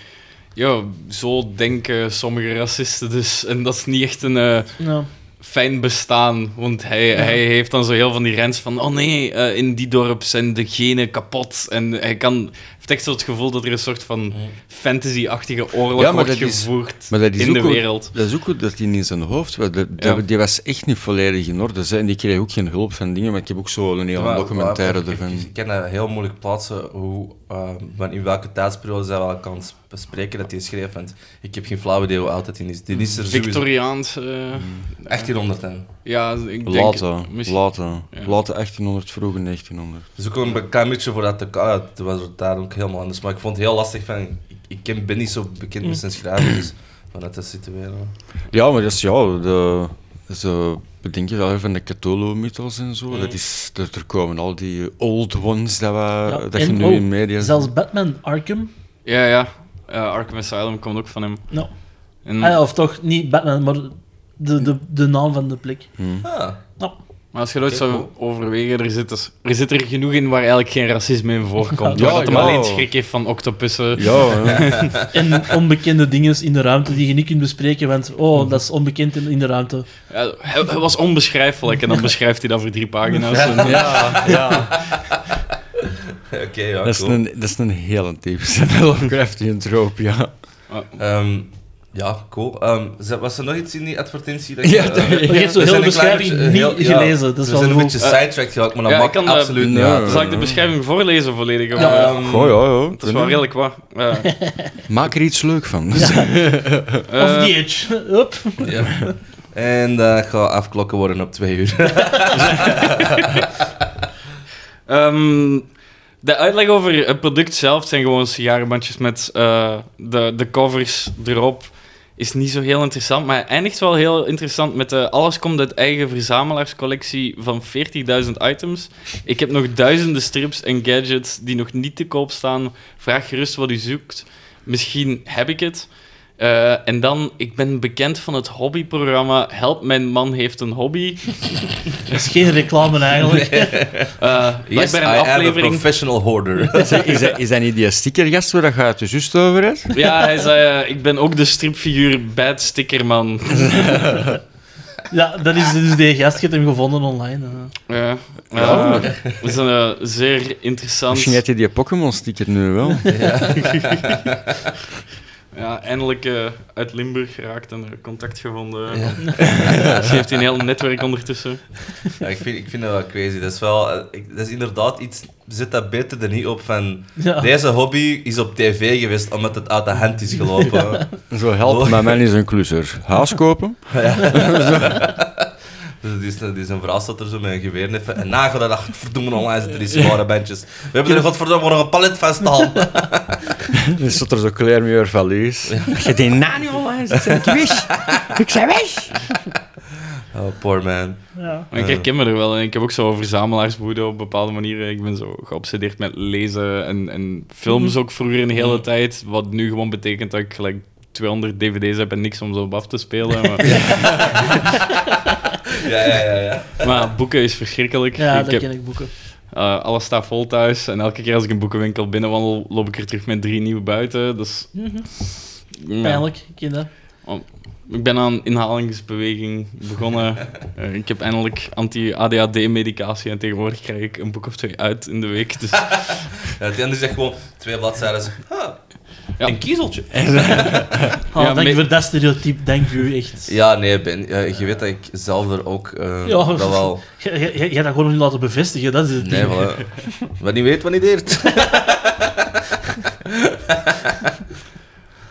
C: Yo, zo denken sommige racisten dus. En dat is niet echt een eh,
D: ja.
C: fijn bestaan. Want hij, hij heeft dan zo heel van die rens van... Oh nee, eh, in die dorp zijn de genen kapot. En hij kan, hij heeft echt zo het gevoel dat er een soort van fantasy-achtige oorlog
E: Ja, maar
C: wordt
E: dat is-
C: gevoerd
E: maar dat is
C: in de
E: ook wel-
C: wereld.
E: Dat is ook goed dat die in zijn hoofd was. Dat- dat-
C: Ja.
E: Die was echt niet volledig in orde. Ze. En die kreeg ook geen hulp van dingen, maar ik heb ook zo een hele
B: Maar-
E: documentaire
B: maar ik-
E: ervan.
B: Ik, ik kan dat heel moeilijk plaatsen hoe, eh, van in welke tijdsperiode zij wel kan sp- spreken dat hij schreef. Want ik heb geen flauw idee hoe oud het in is. Dit is er sowieso
C: Victoriaans. eh,
E: Hmm.
B: 1800 en.
C: ja, ik denk...
E: Later,
C: misschien-
E: later.
C: Ja.
E: Later 1800, vroege 1900.
B: Dus ook een klein beetje voor dat te ja, het was het daar ook helemaal anders. Maar ik vond het heel lastig van. Ik, ik ken, ben niet zo bekend
C: Mm.
B: met zijn schrijven, dus <clears throat> vanuit dat situeren.
E: Ja, maar dat is ja, de, ze bedenken wel van de Cthulhu-mythos en zo.
C: Mhm.
E: Dat is, er, er komen al die old ones dat, we, Eh, dat je
D: en-
E: nu
D: oh,
E: in media
D: Zelfs Batman Arkham.
C: Ja, ja. Eh, Arkham Asylum komt ook van hem.
D: Nou,
E: Hm.
C: En-
D: ah ja, of toch niet Batman, maar de, de, de naam van de plek.
E: Hm.
B: Ah,
D: Nou,
C: Maar als je dat zou overwegen, er zit, dus- er zit er genoeg in waar eigenlijk geen racisme in voorkomt.
E: <laughs> Ja,
C: Ja, dat hem
E: ja.
C: alleen schrik heeft van octopussen.
D: <laughs>
E: Ja, hè.
D: en onbekende dingen in de ruimte die je niet kunt bespreken, want
E: Hm.
D: oh, dat is onbekend in, in de ruimte.
C: Ja, hij, hij was onbeschrijfelijk en
E: <laughs>
C: dan beschrijft hij dat voor drie pagina's. En-
E: ja, ja.
B: Oké, ja,
E: Dat, is
B: cool.
E: een, dat is een hele typische <laughs> Lovecraftian trope, ja.
B: Ehm, ja, cool. Ehm, ze- was er nog iets in die advertentie?
E: <laughs>
B: Dat
E: Ja,
B: je- eh,
E: dat-
B: We
D: Maar je hebt
B: zijn
D: zo'n
B: een
D: hele
B: klein
D: beschrijving
B: beetje- eh,
D: niet
B: heel- ja,
D: gelezen. dat is
B: we
D: wel
B: zijn een
D: goed.
B: beetje sidetracked geraakt, maar dat
C: dus Ja, ik
B: maakt
C: kan eh, dat-
B: absoluut niet
E: Nee.
B: uit.
C: Zal ik de beschrijving voorlezen volledig? Of, eh,
B: Ehm,
E: Goh, ja, ja.
C: Het is wel redelijk wat. Ja.
E: Maak er iets leuk van.
D: Of
C: Eh,
D: The Edge. <laughs> Hup.
B: Ja. <laughs> En dat gaat afklokken worden op twee uur.
C: Ehm, de uitleg over het product zelf zijn gewoon sigarenbandjes met eh, de, de covers erop. Is niet zo heel interessant, maar eindigt wel heel interessant met eh, alles komt uit eigen verzamelaarscollectie van 40.000 items. Ik heb nog duizenden strips en gadgets die nog niet te koop staan. Vraag gerust wat u zoekt. Misschien heb ik het. Eh, en dan, ik ben bekend van het hobbyprogramma Help Mijn Man Heeft Een Hobby.
D: Dat is geen reclame eigenlijk.
C: Eh
B: Yes, <laughs> I
C: bij een
B: am a
C: aflevering
B: professional hoarder.
E: Is dat, is, dat, is dat niet die stickergast waar dat je het de juist over hebt?
C: Ja, hij zei, eh, ik ben ook de stripfiguur Bad Stickerman.
D: Ja, dat is dus die gast. Je hebt hem gevonden online. eh. hè.
C: Ja.
E: Ja.
D: Oh.
C: Eh, dat is een eh, zeer interessant...
E: Misschien had je die Pokémon-sticker nu <laughs> wel.
C: Ja, eindelijk eh, uit Limburg geraakt en er contact gevonden. <laughs> Ze heeft een heel netwerk ondertussen.
B: Ja, ik, vind, ik vind dat wel crazy. Dat is, wel, eh, ik- dat is inderdaad iets... Zit dat beter er niet op van...
D: Ja.
B: Deze hobby is op tv geweest omdat het uit de hand is gelopen.
E: Zo helpt
B: Oh.
E: mijn man is een klusser. Huis kopen?
B: Dus die is, die is een verhaal staat er zo met een geweer neffen. En na gaat dat, verdomme online zitten die zware bandjes. We hebben er godverdomme nog een palet van staan.
E: <laughs> Dan zit er zo Claire meer values. Je denkt, na nu online zit, ik weg. Ik zei weg.
B: Oh, poor man.
D: Ja.
C: Maar ik herken me er wel in. Ik heb ook zo'n verzamelaarsboede op bepaalde manieren. Ik ben zo geobsedeerd met lezen en, en films
D: Mhm.
C: ook vroeger in de hele tijd. Wat nu gewoon betekent dat ik gelijk 200 dvd's heb en niks om zo op af te spelen.
D: <laughs>
C: Maar,
B: Ja, ja, ja. ja.
C: maar boeken is verschrikkelijk.
D: Ja,
C: ik
D: dat
C: heb,
D: ken ik boeken.
C: eh, alles staat vol thuis. En elke keer als ik een boekenwinkel binnenwandel, loop ik er terug met drie nieuwe buiten. Dus, Ja.
D: Mhm. Pijnlijk, ik ken dat.
C: Ik ben aan inhalingsbeweging
B: <laughs>
C: begonnen. Eh, ik heb eindelijk anti-ADHD-medicatie en tegenwoordig krijg ik een boek of twee uit in de week. Dus
B: Ja, Het ene zegt gewoon twee bladzijden. Ah,
C: Ja.
B: Een kiezeltje.
D: Oh,
C: Ja,
D: dank
C: me-
D: je voor dat stereotype, dank u echt.
B: <laughs> Ja, nee, Ben. ja, je weet dat ik zelf er ook eh
D: Ja.
B: dat
D: <laughs>
B: wel...
D: Je je- je hebt dat gewoon nog niet laten bevestigen, dat is het <laughs>
B: Nee,
D: ding.
B: voilà. Wat niet weet, wat niet deert.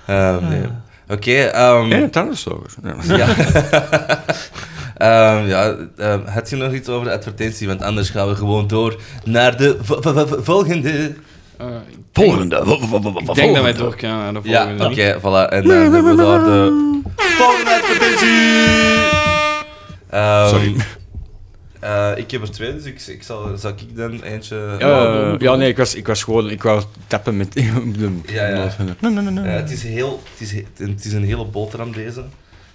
B: Ehm, nee. Oké, ehm,
E: Nee, dat is zo.
B: ja. Ehm, ja, ehm, had je nog iets over de advertentie? Want anders gaan we gewoon door naar de vo- vo- vo- volgende.
C: eh,
E: Volgende.
C: ik denk dat wij door kunnen naar de
B: Ja,
C: volgende.
B: oké, voilà. En dan hebben we daar de volgende advertentie. Ehm,
E: Sorry.
B: eh, ik heb er twee, dus ik, ik zal, zal ik dan eentje...
E: Eh, ja, nee, ik was, ik was gewoon... Ik wou tappen met... <laughs>
B: Ja, ja. Ja, Eh, het, is heel, het, is, he- het is een hele boterham deze.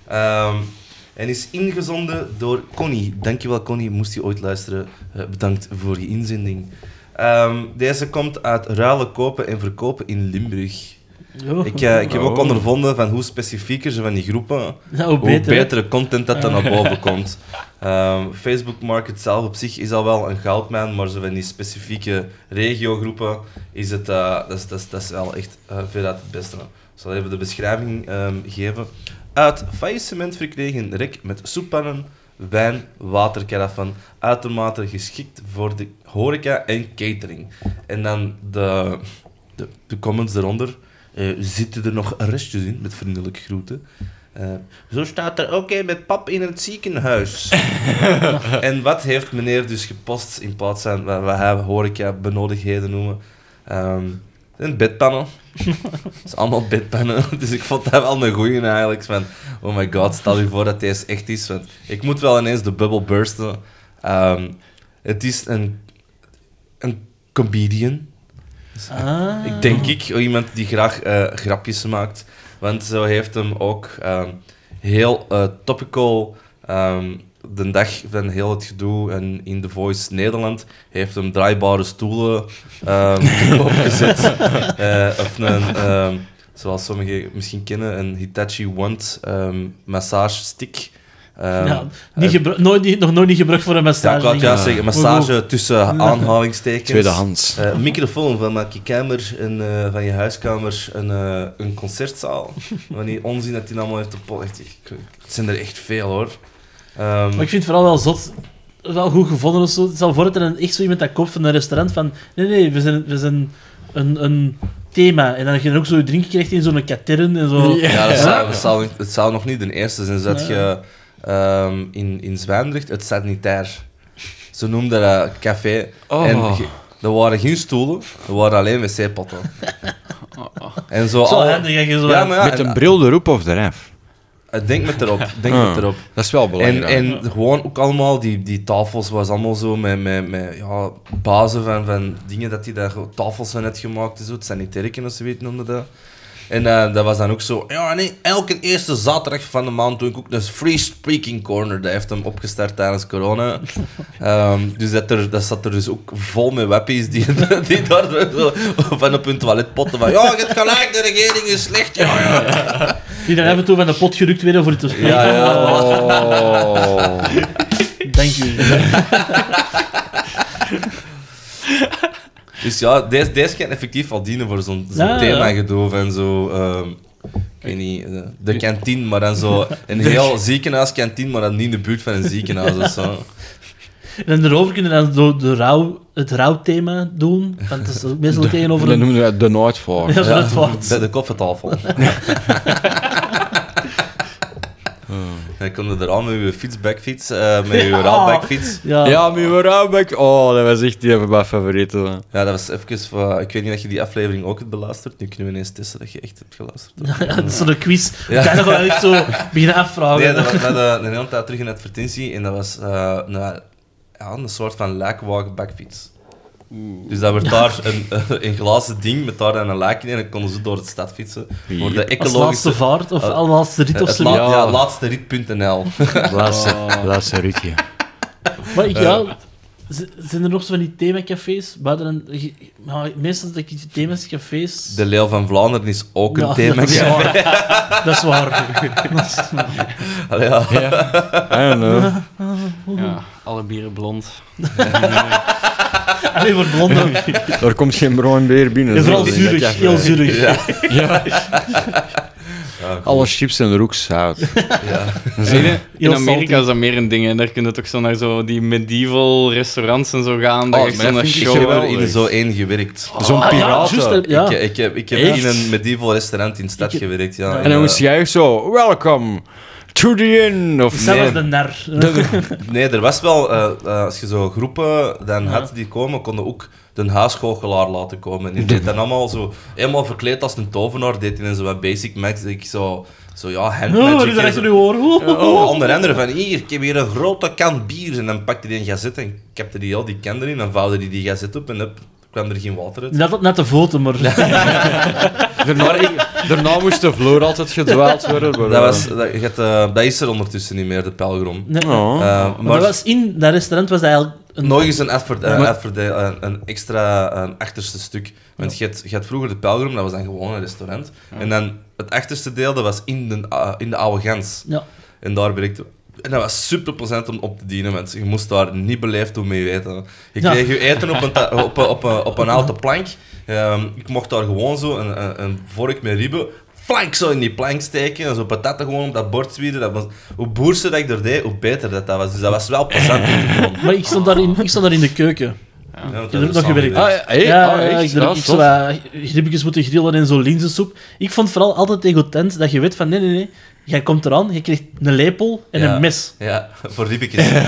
B: Ehm, en is ingezonden door Connie. Dankjewel Connie, moest je ooit luisteren. Eh, bedankt voor je inzending. Ehm, deze komt uit ruilen kopen en verkopen in Limburg.
D: Jo. <laughs>
B: Ik, eh, ik heb ook
E: Oh.
B: ondervonden van hoe specifieker ze van die groepen,
D: Ja, nou, hoe
B: hoe
D: beter. hè?
B: betere content dat er
D: <laughs>
B: naar boven komt. Ehm, Facebook Market zelf op zich is al wel een goudmijn, maar zo van die specifieke regiogroepen is het, eh, dat, is, dat, is, dat is wel echt eh veruit het beste. Ik zal even de beschrijving ehm, geven. Uit faillissement verkregen rek met soeppannen, wijn, waterkaraffen, uitermate geschikt voor de horeca en catering. En dan de, de, de comments eronder. Eh, zitten er nog restjes in met vriendelijke groeten? Eh, zo staat er ook een met pap in het ziekenhuis. en wat heeft meneer dus gepost in plaats van wat, wat hij horeca benodigdheden noemen? Ehm, een bedpannen. Het is allemaal bedpannen. <laughs> Dus ik vond dat wel een goeie eigenlijk. Van, oh my god, stel je voor dat deze echt is. Want ik moet wel ineens de bubbel bursten. Ehm, het is een, een comedian.
D: Ah.
B: Ik denk ik, iemand die graag eh, grapjes maakt. Want zo heeft hem ook ehm, heel eh, topical ehm, de dag van heel het gedoe en in The Voice Nederland heeft hem draaibare stoelen ehm, <laughs> te koop gezet. Eh, of een, ehm, zoals sommigen misschien kennen, een Hitachi Wand ehm, massage stick. Ehm,
D: ja, niet gebru- nooit, niet- nog nooit niet gebruikt voor een
B: ja,
D: massage.
B: ik wou het
D: denk ik.
B: juist zeggen, massage tussen aanhalingstekens.
E: Tweedehands.
B: Eh, een microfoon van maak je kamer, een, eh, van je huiskamer, een, eh, een concertzaal. Van die onzin dat hij allemaal heeft op echt, ik- ik- Het zijn er echt veel hoor. Ehm,
D: Maar ik vind het vooral wel zot, wel goed gevonden of zo. Het zal voor dat er een- echt zo iemand dat koopt van een restaurant van... Nee, nee, we zijn, we zijn een, een thema. En dan je dan ook zo drinken krijgt in zo'n katern en zo.
B: ja, dat zou, het, zou, het zou nog niet de eerste zijn. Zat je ehm, in, in Zwijndrecht, het sanitair. Ze noemden dat café.
E: Oh.
B: En ge- er waren geen stoelen, er waren alleen wc-potten. En zo,
D: Zo
B: al-
D: handig dat je zo...
B: Ja, maar ja,
E: Met
B: en-
E: een bril erop of eraf.
B: eh, Denk met erop, denk
E: Ah.
B: met erop.
E: Dat is wel belangrijk.
B: En, en gewoon ook allemaal, die, die tafels was allemaal zo met, met, met ja, bazen van, van dingen dat die daar gewoon tafels van had gemaakt en zo. Het sanitairken of ze weten noemde dat. En eh, dat was dan ook zo, ja nee, elke eerste zaterdag van de maand doe ik ook een free speaking corner. Dat heeft hem opgestart tijdens corona. Ehm, dus dat, er, dat zat er dus ook vol met wappies die, <laughs> die daar zo van op hun toilet potten van, ja, je hebt gelijk, de regering is slecht, ja, ja.
D: Die dan af en toe van de pot gerukt werden voor het te spreken.
B: Ja, ja.
E: <laughs> Oh.
D: <laughs> Dank u.
B: Dus ja, deze, deze kan effectief al dienen voor zo'n zo'n
D: Ja, ja.
B: thema gedoof en zo. ehm, ik weet niet, eh, de kantine, maar dan zo een heel ziekenhuiskantine, maar dan niet in de buurt van een ziekenhuis of zo.
D: En daarover kunnen we dan zo de rouw, het rouwthema doen. Want dat is ook meestal tegenover
E: Dat
D: <laughs> een...
E: noemen we de nooit voor.
D: Ja, zo
B: Ja.
D: <laughs> dat
B: <laughs>
D: wordt.
B: Bij de koffentafel. Ja, konden er al met uw fiets, backfiets, eh, met uw raalbackfiets.
D: Ja.
E: Ja, mijn Raubek. Oh, dat was echt een van mijn favorieten. man.
B: Ja, dat was even van... Ik weet niet of je die aflevering ook hebt beluisterd. Nu kunnen we ineens testen dat je echt hebt geluisterd.
D: Ja, <laughs> dat is zo'n quiz.
B: Ja.
D: Ja. Kan je nog wel echt zo beginnen afvragen.
B: Nee, dat was, we hadden een hele tijd terug in advertentie en dat was eh, een, ja, een soort van lijkwalk backfiets. Dus dat werd daar een, <laughs> een glazen ding met daar dan een lijk in en dan konden ze door de stad fietsen. Voor de
D: Als
B: ecologische...
D: laatste vaart of
B: Eh,
D: al laatste rit of
B: het
D: zo.
B: la-
E: Ja.
B: ja, laatste rit.nl.
E: Laatste, laatste ritje.
D: Maar ik, ja, z- zijn er nog zo van die themacafés? Buiten een, ge- ja, meestal dat ik die thema's cafés...
B: De Leeuw van Vlaanderen is ook een
D: Ja,
B: thema.
D: Dat is waar. dat is waar. Dat is-
B: Allee, ja.
E: I don't know.
C: Ja,
B: Mhm.
C: alle bieren blond.
D: Alleen voor blonden.
E: Daar komt geen bruin beer binnen.
D: En vooral
E: Dat is dat
D: zuurig.
E: jij-
D: Heel zuurig. Ah,
E: Alle chips zijn er ook zout.
C: In
D: Heel salty.
C: Amerika is dat meer een ding. En daar kun je toch zo naar zo die medieval restaurants en zo gaan.
B: Oh,
C: Dat
B: maar
C: je zo
B: dat
C: naar
B: vind ik- ik heb
C: show.
B: er in zo één gewerkt. Dus
E: Zo'n
D: Ah, ja,
E: piraten.
D: juist, hè. ja.
B: Ik, ik heb, ik heb
E: Echt?
B: in een medieval restaurant in de stad
D: Ik-
B: gewerkt. Ja,
E: en dan
B: eh,
E: moest jij echt zo, welcome to the inn. Of
D: Zelfs
E: nee.
D: de nar.
B: Nee, er was wel, eh, eh, als je zo groepen dan had die komen, konden ook de huisgoochelaar laten komen. En die deed dan allemaal zo, helemaal verkleed als een tovenaar, deed hij dan zo wat basic magic, zo, zo ja, hand
D: Oh,
B: magic.
D: dat is
B: en
D: echt
B: zo.
D: nu hoor.
B: Oh, onder andere van, hier, ik heb hier een grote kan bier. En dan pakte hij een gazet en kapte die al die kan erin, dan vouwde hij die gazet op en hup, kwam er geen water uit.
D: Net, net de foto, maar...
E: Daarna, daarna moest de vloer altijd gedwaald worden. maar,
B: Dat, was, dat, je had, eh, dat is er ondertussen niet meer, de pelgrom.
D: <laughs> Nee.
E: Oh.
B: Eh,
D: Maar dat was in dat restaurant was dat eigenlijk een...
B: Nog eens een, adver- eh,
E: Maar-
B: adverde- eh, een extra eh, achterste stuk. Want je, had, je had vroeger de Pelgrim, dat was dan gewoon een restaurant. En dan het achterste deel, dat was in de, eh, in de oude gans.
D: Ja.
B: En daar werkte En dat was super plezant om op te dienen, want je moest daar niet beleefd om mee weten. Je
D: Ja.
B: kreeg je eten op een, ta- op, een- op, een, op een houten plank. Ehm, ik mocht daar gewoon zo een, een, een vork met ribben, flank zo in die plank steken. En zo patatten gewoon op dat bord zwieren. Dat was, hoe boerser dat ik er deed, hoe beter dat, dat was. Dus dat was wel plezant om te doen.
D: Maar ik stond, daar in, ik stond daar in de keuken.
B: Ja, want dat
D: Je hebt
B: is
D: nog gewerkt.
E: Ah,
B: samen
E: ja, hey,
D: ja,
E: ah,
D: ja,
E: echt?
D: ik heb
E: Ah,
D: ook
E: tof.
D: zo wat ribbetjes moeten grillen en zo linzensoep. Ik vond vooral altijd egotent dat je weet van nee, nee, nee. Jij komt eraan, je krijgt een lepel en
B: Ja.
D: een mes.
B: Ja, voor ribbekjes. Ja,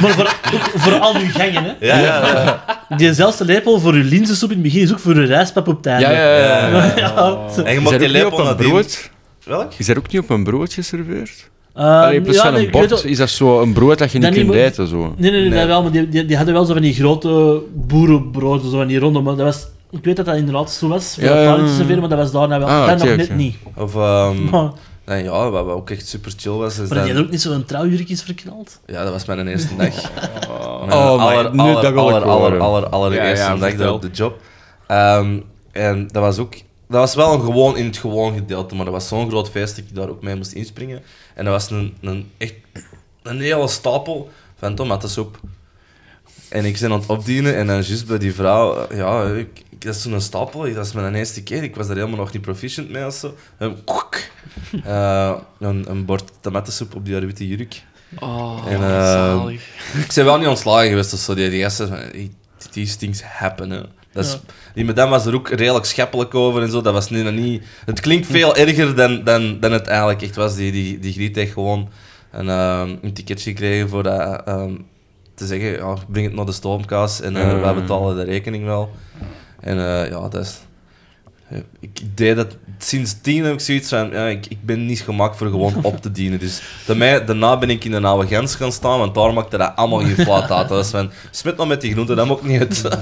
D: Maar voor, ook voor al uw gangen, hè.
B: ja, ja.
D: Diezelfde lepel voor uw linzensoep in het begin is ook voor uw rijstpap op het einde.
E: Ja, ja, ja. ja.
D: <laughs> Ja, zo.
B: En je
E: Is
B: mocht
E: er
B: die
E: ook niet
B: lepel
E: op een
B: nadien-
E: brood?
B: Welk?
E: Is er ook niet op een brood geserveerd?
D: Eh,
E: Allee, plus
D: ja,
E: van
D: nee,
E: een
D: ik weet
E: bord.
D: ook-
E: Is dat zo een brood dat je niet
D: Dat niet
E: kunt
D: moet-
E: eten? Zo?
D: Nee, nee, nee,
B: Nee.
D: Dat wel, maar die, die, die hadden wel zo van die grote boerenbroden, zo van die ronde. Maar dat was, ik weet dat dat inderdaad zo was, voor
E: Ja,
D: dat
E: ja,
D: taartje te
E: ja.
D: serveren, maar dat was daarna wel.
E: Ah,
D: dat
E: oké,
D: nog net
E: oké. Hm.
D: niet.
B: Of, ehm
D: <laughs> Maar,
B: nee, ja, wat, wat ook echt super chill was, is
D: maar die
B: dat...
D: had ook niet zo'n trouwjurk is verknald.
B: Ja, dat was mijn eerste dag. Mijn
E: Oh, maar
B: aller,
E: nu,
B: aller,
E: dat wil ik
B: aller, aller,
E: horen.
B: aller, allereerste
C: Ja, ja,
B: dag daar
C: vertel.
B: op de job. Ehm, en dat was ook... Dat was wel een gewoon in het gewoon gedeelte, maar dat was zo'n groot feest dat ik daar ook mee moest inspringen. En dat was een, een echt... Een hele stapel van tomatensoep. En ik ben aan het opdienen en dan juist bij die vrouw, eh, ja, ik, ik- dat is zo'n stapel, dat is mijn eerste keer, ik was daar helemaal nog niet proficient mee of zo. En koek,
C: <laughs>
B: eh, een, een bord tomatensoep op die haar witte jurk.
C: Oh,
B: En, eh,
C: zalig.
B: Ik ben wel niet ontslagen geweest of zo, die, die gasten, van, "Hey, these things happen, hè. Dat is, Die madame was er ook redelijk scheppelijk over en zo, dat was nu nog niet... Het klinkt veel erger dan, dan, dan het eigenlijk echt was, die, die, die griet heeft gewoon een, ehm, een ticketje gekregen voor dat... ehm, te zeggen, ja, breng het naar de stoomkaas en eh, wij betalen de rekening wel. En eh, ja, dat is... eh, Ik deed dat sinds tien heb ik zoiets van, ja, ik, ik ben niet gemaakt voor
D: <laughs>
B: gewoon op te dienen. Dus bij mij, daarna ben ik in de oude grens gaan staan, want daar maakte dat allemaal geen flaat uit. Dat was van, smit nog met die groenten, dat maakt niet
D: <laughs>
B: uit.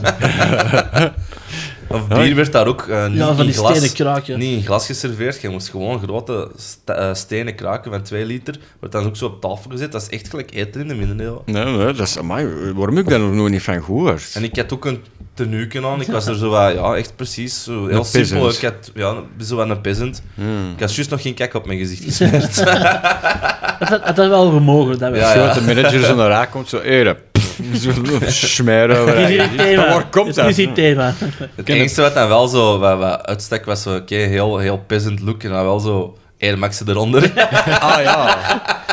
B: of bier werd daar ook eh, niet
D: Ja, van
B: in
D: die
B: glas.
D: stenen kraken.
B: Niet in glas geserveerd, je moest gewoon grote st- eh, stenen kraken van 2 liter. Wordt dan ook zo op tafel gezet, dat is echt gelijk eten in de middeleeuwen.
E: Nee, nee, dat is, amai, waarom heb ik daar nog nooit niet van gehoord?
B: En ik had ook een tenueken aan. Ik
D: <laughs>
B: was er zo wat, ja, echt precies. Zo heel
E: Een
B: simpel.
E: peasant. Hmm.
B: Ik had ja, zo wat een peasant. Ik had juist nog geen kek op mijn
D: <laughs>
B: gezicht gesmeerd.
D: Dat had, had dat wel gemogen, dat wel.
B: Ja,
E: Zo dat de manager zo naar raak komt, zo eerder. Smeren.
D: Het is
E: over-
D: hier thema.
E: Waar komt
D: Het is
E: dat?
D: hier thema.
E: <laughs>
B: Het enige wat dan wel zo wat, wat uitstak was zo, oké, heel, heel peasant look. En dan wel zo Air Maxen
D: <laughs>
B: eronder.
E: Ah ja.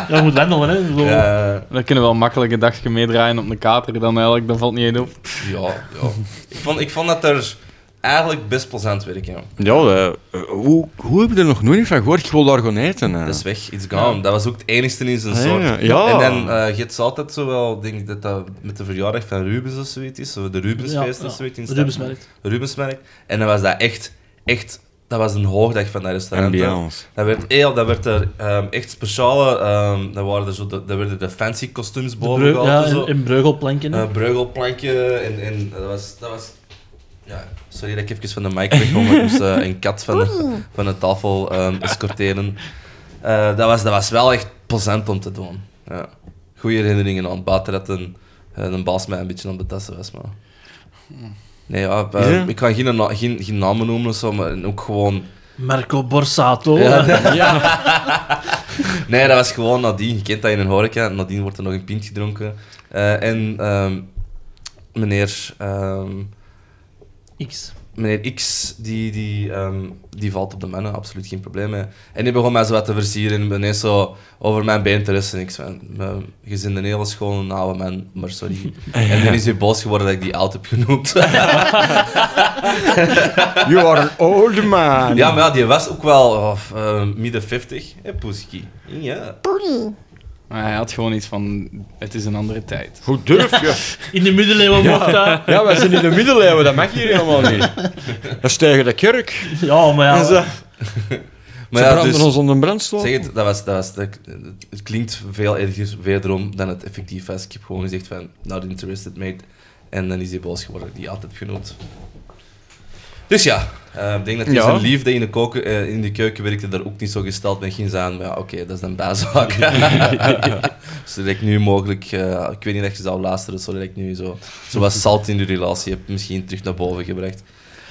D: Ja, je moet wendelen, hè. Zo.
B: Ja,
C: Dan kunnen we wel makkelijk een dagje meedraaien op een kater dan eigenlijk. Dat valt niet in op.
B: ja, ja. Ik, vond, ik vond dat er eigenlijk best plezant werk, ja.
E: Ja, eh, hoe, hoe heb je er nog nooit van gehoord? Ik wil daar gewoon eten. hè.
B: Dat is weg, it's gone. Dat was ook het enigste in zijn
E: Ah,
B: soort.
E: ja. Ja.
B: En dan eh je hebt altijd zo wel, ik denk dat dat met de verjaardag van Rubens of zoiets is, zo de Rubensfeest
D: Ja,
B: of
D: ja.
B: zoiets in
D: Rubensmarkt.
B: Rubensmerk. En dan was dat echt, echt, dat was een hoogdag van dat restaurant. hè.
E: Ambiance.
B: Dat werd, heel, dat werd er ehm, echt speciale, ehm dat, waren er zo de, dat werden de fancy kostuums
D: De
B: boven
D: breu- ja,
B: gehaald en zo.
D: in, in Breugelplanken.
B: Eh, breugelplankje en, en dat was... Dat was ja, sorry dat ik even van de mic wegkom, maar ik moest eh, een kat van de, van de tafel ehm, escorteren. Eh, dat, was, dat was wel echt plezant om te doen. Ja. Goede herinneringen aan, buiten dat een, eh, een baas mij een beetje aan het betassen was. Maar... Nee, ja, eh,
E: Is het?
B: ik kan geen, na- geen, geen namen noemen of zo, maar ook gewoon...
D: Marco Borsato.
B: Ja.
D: eh,
E: Oh. <laughs>
B: Nee, dat was gewoon nadien. Je kent dat in een horeca. Nadien wordt er nog een pint gedronken. Eh, en ehm, meneer... ehm,
D: X.
B: meneer X, die, die, ehm, die valt op de mannen, absoluut geen probleem mee. En die begon mij zo wat te versieren en ineens zo over mijn been te rusten. Ik zei, "Ehm, "Mijn gezin een hele schoon, een oude man, maar
E: <laughs>
B: sorry. En dan is hij boos geworden dat ik die oud heb genoemd.
E: You are an old
B: <laughs>
E: man.
B: ja, maar ja, die was ook wel oh, eh, midden 50. Hé, Poeskie. Ja.
C: Maar hij had gewoon iets van, het is een andere tijd.
E: Hoe durf je?
D: In de middeleeuwen mocht dat.
E: Ja, wij zijn in de middeleeuwen, dat mag hier helemaal niet. Dat is tegen de kerk.
D: Ja, maar ja.
E: En ze
B: Maar
E: ze
B: ja,
E: branden
B: dus-
E: ons onder brandstof.
B: Zeg het, dat was, dat was, dat, het klinkt veel erger wederom dan het effectief was. Ik heb gewoon gezegd van, not interested mate. En dan is hij boos geworden, die altijd genoemd. Dus ja, eh, ik denk dat hij
E: Ja.
B: zijn liefde in de, koken, eh, in de keuken werkte daar ook niet zo gesteld mee ging zijn. Maar ja, oké, dat is een
D: <laughs>
B: bijzaak. <laughs> zodat ik nu mogelijk, eh, ik weet niet dat je zou luisteren, zodat ik nu zo, zo wat zout in de relatie heb misschien terug naar boven gebracht.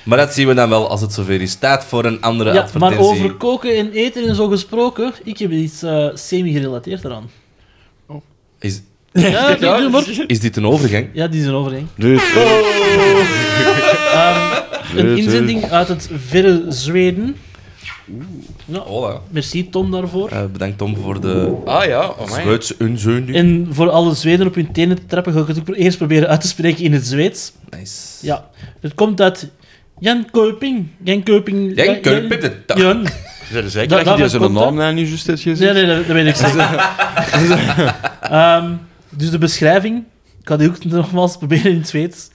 B: Maar dat zien we dan wel als het zover is. Tijd voor een andere
D: ja.
B: advertentie.
D: Maar over koken en eten en zo gesproken, ik heb iets eh, semi-gerelateerd eraan.
B: Is,
D: <laughs> Ja, oké, doe maar.
B: is dit een overgang?
D: Ja, die is een overheen.
E: Dit-
D: Ehm, een
E: Dit-
D: inzending uit het verre Zweden.
B: Hola.
D: Merci Tom daarvoor.
B: Eh, bedankt Tom voor de
E: Ah ja, oh my.
B: Zweedse inzending.
D: En voor alle Zweden op hun tenen te trappen, ga ik het ook pro- eerst proberen uit te spreken in het Zweeds.
B: Nice.
D: Ja, het komt uit Jan Köping. Jan Köping.
B: Jij kunt het toch?
D: Jan.
E: Zijn er zeker dat,
D: Dat-
E: je
D: dat
E: die
D: was
E: zijn
D: content.
E: naam nou niet juist hebt
D: Nee,
E: gezien?
D: nee, dat, dat weet ik zeker. Ehm, dus de beschrijving, ik ga die ook nogmaals proberen in het Zweeds.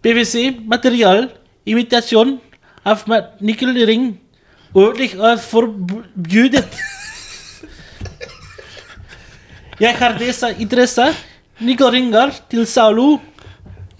D: PVC, materiaal, imitation, af met nikkelring, oorlog uit verboden. <laughs> Jij gaat deze interesse, nikkelringar, til salu.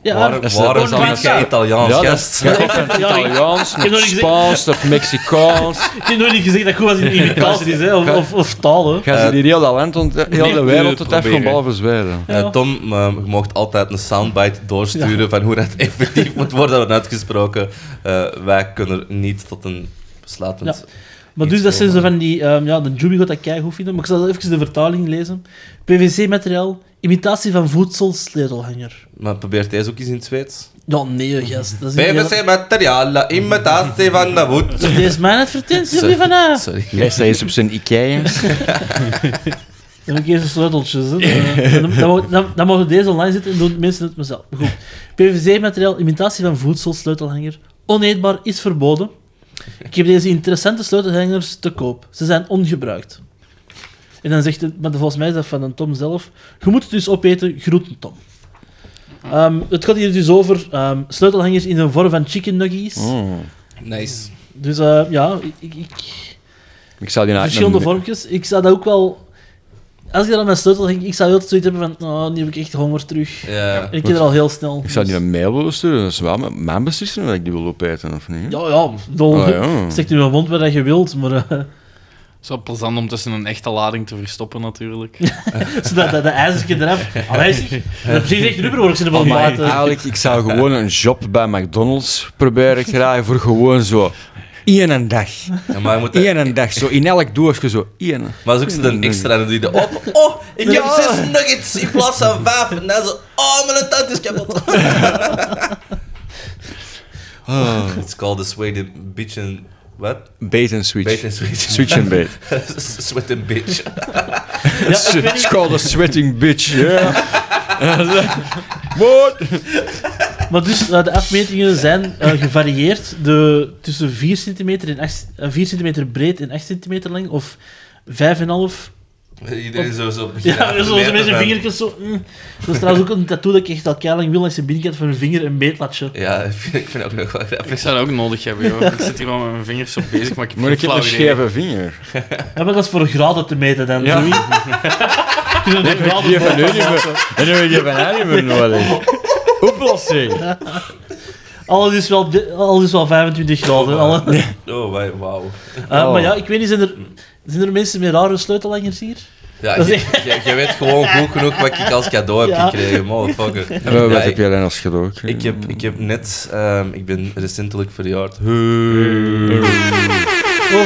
D: Ja,
B: Waar,
E: is
B: waar
E: dat-
B: is dan
D: Content.
B: geen Italiaans
E: Ja, dat
B: gast?
E: is dat is van het
D: Ja, ik-
E: Italiaans,
D: heb
E: nog
D: nog niet
E: Spaans, nog Mexicaans.
D: ik heb nooit niet gezegd dat goed was in imitaties hè, of, of, of taal. Hè.
E: Gaan ze die heel dat land, ont- heel de
C: nee,
E: wereld tot
C: proberen.
E: even behalve Zweden.
B: Eh, Tom, eh, je mocht altijd een soundbite doorsturen van hoe dat <laughs> effectief moet worden uitgesproken. Eh, wij kunnen er niet tot een besluitend...
D: Ja. Maar dus
B: Iets
D: dat zijn zo
B: over.
D: van die... ehm, ja, de Juby gaat dat keigoed vinden, maar ik zal even de vertaling lezen. PVC-materiaal, imitatie van voedsel, sleutelhanger.
B: Maar probeer deze ook eens in het Zweeds.
D: Ja, nee, gast. Dat is niet
B: PVC materiaal, imitatie van de woed.
D: heel- Dit is mijn advertentie, jullie van ah.
B: Sorry.
E: Jij staat eens op zijn Ikea.
D: Dan heb ik eerst de sleuteltjes. Hè. Eh, dan- dan mogen- Dan dan mogen deze online zitten en doen mensen het mezelf. Goed. PVC-materiaal, imitatie van voedsel, sleutelhanger. Oneetbaar is verboden. Ik heb deze interessante sleutelhangers te koop. Ze zijn ongebruikt. En dan zegt het, maar volgens mij is dat van een Tom zelf. Je moet het dus opeten, groeten Tom. Ehm, het gaat hier dus over ehm, sleutelhangers in de vorm van chicken nuggies.
B: Nice.
D: Dus eh, ja, ik- ik, ik,
E: Ik zou die naar
D: verschillende vormpjes. Ik zou dat ook wel... Als ik dat aan mijn sleutel ging, ik zou heel zoiets hebben van... Oh, nu heb ik echt honger terug.
B: Ja.
D: En ik heb er al heel snel.
E: Ik zou die een mail willen sturen, dat is wel mijn- mijn beslissing dat ik die wil opeten of niet.
D: Ja, ja. Dol.
E: Ah, ja.
D: Steek nu mijn mond waar dat je wilt, maar... eh, <laughs>
C: Het is wel plezant om tussen een echte lading te verstoppen natuurlijk.
D: zodat dat, dat ijzertje eraf... Allee, zeg. Dat is precies echt rubberworks in de
E: Maar
D: balmaat.
E: eigenlijk, ik zou gewoon een job bij McDonald's proberen te krijgen voor gewoon zo één een dag.
B: Ja, maar je moet...
E: Eén een dag, zo in elk doosje zo één.
B: Maar zoek ze dan extra die de op. Oh, ik heb
E: Ja.
B: zes nuggets in plaats van vijf. En dan zo, oh, mijn tand is
E: <laughs>
B: kapot.
E: Ah.
B: It's called the Sweden bitch and... What?
E: Bait and
B: Bait
E: switch.
B: and switch.
E: Switch and bait.
B: <laughs> Sweat and bitch.
E: It's <laughs> it's called a sweating bitch, yeah. What?
D: Maar dus, eh, de afmetingen zijn eh, gevarieerd de, tussen 4 centimeter, in 8, eh, 4 centimeter breed en 8 centimeter lang, of 5,5.
B: Iedereen zo zo.
D: Ja,
B: zo
D: zo'n beetje met zijn vingertjes zo. mm. Dat is trouwens ook een tattoo dat ik echt al keilang wil, als je binnenkant van een vinger een beetlatje.
B: Ja, <laughs> ik vind, ik vind het ook nog wel
C: Ik
B: grappig.
C: zou dat ook nodig hebben, joh. Ik zit hier al met mijn vingers op bezig, maar ik heb
E: Moet ik
C: geen
E: heb een
C: flauw idee.
E: scheve vinger.
D: Ja, maar dat is voor graden te meten dan,
E: Ja.
D: Louis. Je kunt het ook graden
E: Die van u
D: voor-
E: niet meer. En dan heb je van haar niet meer nodig. Oplossing.
D: Alles is wel, de- alles is wel 25 graden. alle-
B: Oh, wauw, wauw.
D: Eh,
E: Oh.
D: Maar ja, ik weet niet, zijn er, zijn er mensen met rare sleutelhangers hier?
B: Ja,
D: Dat
B: je,
D: is
B: je, je weet gewoon goed genoeg wat ik als cadeau heb
D: Ja.
B: gekregen, motherfucker.
E: Wat
B: Ja,
E: heb
B: ik,
E: jij dan als cadeau gekregen?
B: ik, heb, ik heb net, ehm, ik ben recentelijk verjaard.
D: Oh,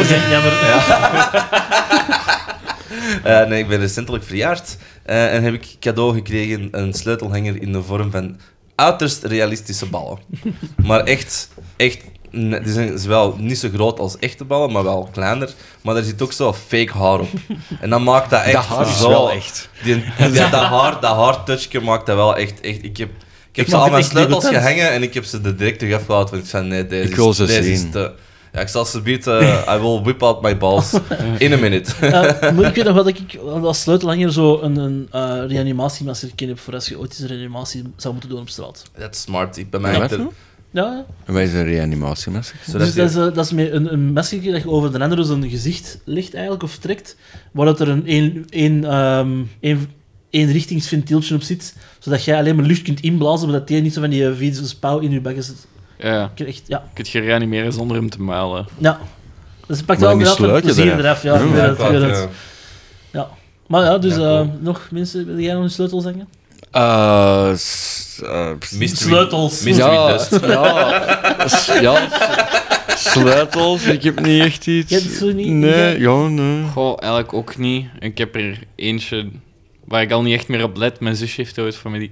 D: zijn jammer.
B: Eh, nee, ik ben recentelijk verjaard eh, en heb ik cadeau gekregen een sleutelhanger in de vorm van uiterst realistische ballen. Maar echt, echt, ne- die zijn wel niet zo groot als echte ballen, maar wel kleiner. Maar er zit ook zo fake haar op. En dat maakt dat echt
E: <laughs> Dat haar is
B: zo...
E: wel echt.
B: Die, die- dat haar, dat haartouchje maakt dat wel echt, echt ik heb... Ik heb
D: Ik
B: ze
D: maak
B: aan mijn
D: het echt
B: sleutels
D: degoûtant.
B: gehangen en ik heb ze er direct terug afgehaald, want ik zei nee, deze,
E: Ik wil
B: is,
E: ze
B: deze is
E: zien.
B: te... Ja, ik zal ze bieden, eh, I will whip out my
E: <laughs>
B: balls in a minute.
D: Eh, maar ik weet nog wel dat ik als sleutelhanger zo een, een eh, reanimatiemasker ken heb voor als je ooit eens een reanimatie zou moeten doen op straat.
B: Dat is smart. Ik ben mij
E: Ja,
B: echt
E: wat?
B: er-
D: Ja, ja.
E: En Wij zijn reanimatiemasker.
B: zodat
D: dus
B: je-
D: dat is, eh, dat is met een, een mesje dat je over de andere zijn gezicht ligt eigenlijk, of trekt, waar dat er een, een, een, ehm, een, richtingsventieltje op zit, zodat jij alleen maar lucht kunt inblazen, maar dat die niet zo van die eh, vieze spouw in je bek zit.
C: Ja,
D: Ik heb Echt, ja,
C: je kunt je reanimeren zonder hem te muilen.
D: ja. Dus het pakt
E: Maar
D: wel
E: dan
D: inderdaad wat
E: sluit je
D: plezier
E: eraf.
D: eraf. Ja,
E: Ja,
D: ik weet
B: Ja,
D: het, ik weet
B: kwaad,
D: het.
B: ja.
D: Maar ja, dus
B: Ja, cool.
D: eh, nog mensen, wil jij nog een sleutel zeggen?
E: Eh, s- eh, s-
B: Mystery-
D: Sleutels.
B: mystery dust.
E: ja, s- ja. <laughs> Sleutels, ik heb niet echt iets.
D: Je hebt zo niet-
E: Nee, ja, nee.
C: Goh, eigenlijk ook niet. Ik heb er eentje waar ik al niet echt meer op let. Mijn zusje heeft ooit voor mij,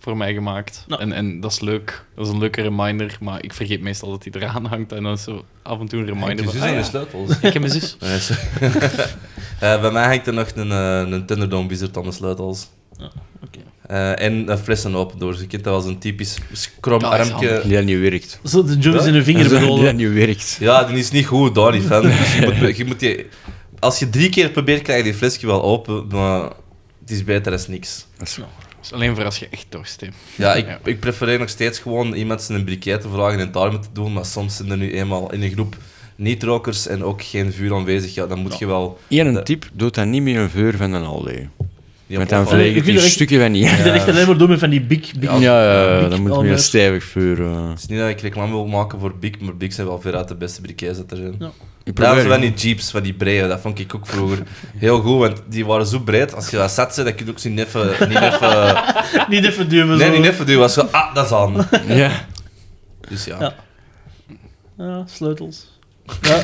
C: voor mij gemaakt.
D: Nou.
C: En, en dat is leuk. Dat is een leuke reminder. Maar ik vergeet meestal dat die eraan hangt. En dan is zo af en toe een
B: Mijn
C: reminder.
B: zus
C: van,
B: en
C: ah,
B: de
C: ja,
B: sleutels.
C: Ik heb mijn zus.
B: Nee, sorry. <laughs> Eh, bij mij hangt er nog een, eh, een Thunderdome Wizard aan de sleutels.
D: oké.
B: Eh, en een flessen open door. Je kent dat was een typisch skrom
C: Dat is
B: armpje.
E: Die niet werkt.
D: Zo, de jongens in hun vinger bedoelen.
E: Die niet werkt.
B: Ja, die is niet goed, daar niet van. Dus je moet, <laughs> je moet die, als je drie keer probeert, krijg je die flesje wel open, maar het is beter dan niks.
C: Dat is alleen voor als je echt dorst hebt.
B: Ja, ik,
C: Ja.
B: ik prefereer nog steeds gewoon iemand zijn een briquet te vragen en het daarmee te doen, maar soms zijn er nu eenmaal in een groep niet-rokers en ook geen vuur aanwezig. Ja, dan moet je wel...
E: Eén
B: Dat-
E: tip, doe dat niet met een veur van een allee.
B: die
E: Met een
B: opvallen.
D: vlees. Ik
E: vleeg
D: vind
E: die
D: dat echt-
E: stukje van niet.
D: Ik vind dat echt alleen maar doen met van die big... big
E: Ja, ja,
D: big
E: dat moet
D: alweer.
E: meer stevig vuur. eh.
B: Het is niet dat ik reclame wil maken voor Big, maar Big zijn wel veruit de beste briquets dat er zijn.
D: Ja.
B: Daarom
E: Ik probeer-
B: zijn van die jeeps, van die breien, dat vond ik ook vroeger heel goed, want die waren zo breed. Als je dat zat, zei, dat kun je ook zo niet even... Niet even
D: <laughs> Niet even duwen,
B: nee,
D: zo.
B: niet even duwen. Was zo, ah, dat is aan.
E: Ja,
B: Dus ja.
D: Ja. Ja, sleutels.
B: <laughs>
D: Ja.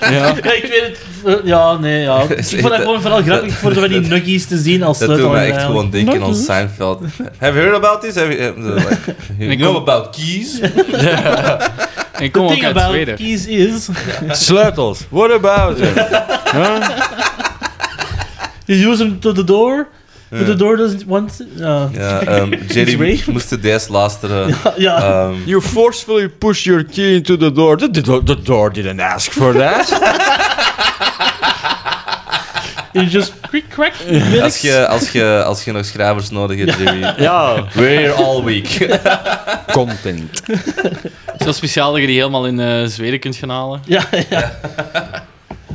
E: ja.
D: Ja, ik weet het. Ja, nee, ja. Ik vond dat gewoon vooral grappig voor zo van die nuggies te zien als
B: Dat
D: sleutel. eh,
B: doet mij echt
D: eigenlijk.
B: gewoon denken aan Seinfeld. Have you heard about this? Have you, eh, like, you
C: <laughs> Ik
B: know
C: kom-
B: about keys?
C: En ik
D: The
C: kom ook
D: thing
C: uit
D: about
C: Zweden.
D: keys is,
E: Sleutels, what about it? <laughs> Huh?
D: you use them to the door, but the door doesn't want... Ja,
B: Ja, ehm, Jerry
D: It's
B: moest de DS luisteren.
D: <laughs> ja.
B: Ehm,
E: You forcefully push your key into the door. The, the, the door didn't ask for that.
D: you just quick
B: <laughs>
D: crack.
B: als, je, als, je, als je nog schrijvers nodig hebt, Jerry.
E: ja,
B: We're here all week.
E: content.
C: Zo speciaal dat je die helemaal in eh, Zweden kunt gaan halen.
D: Ja, ja.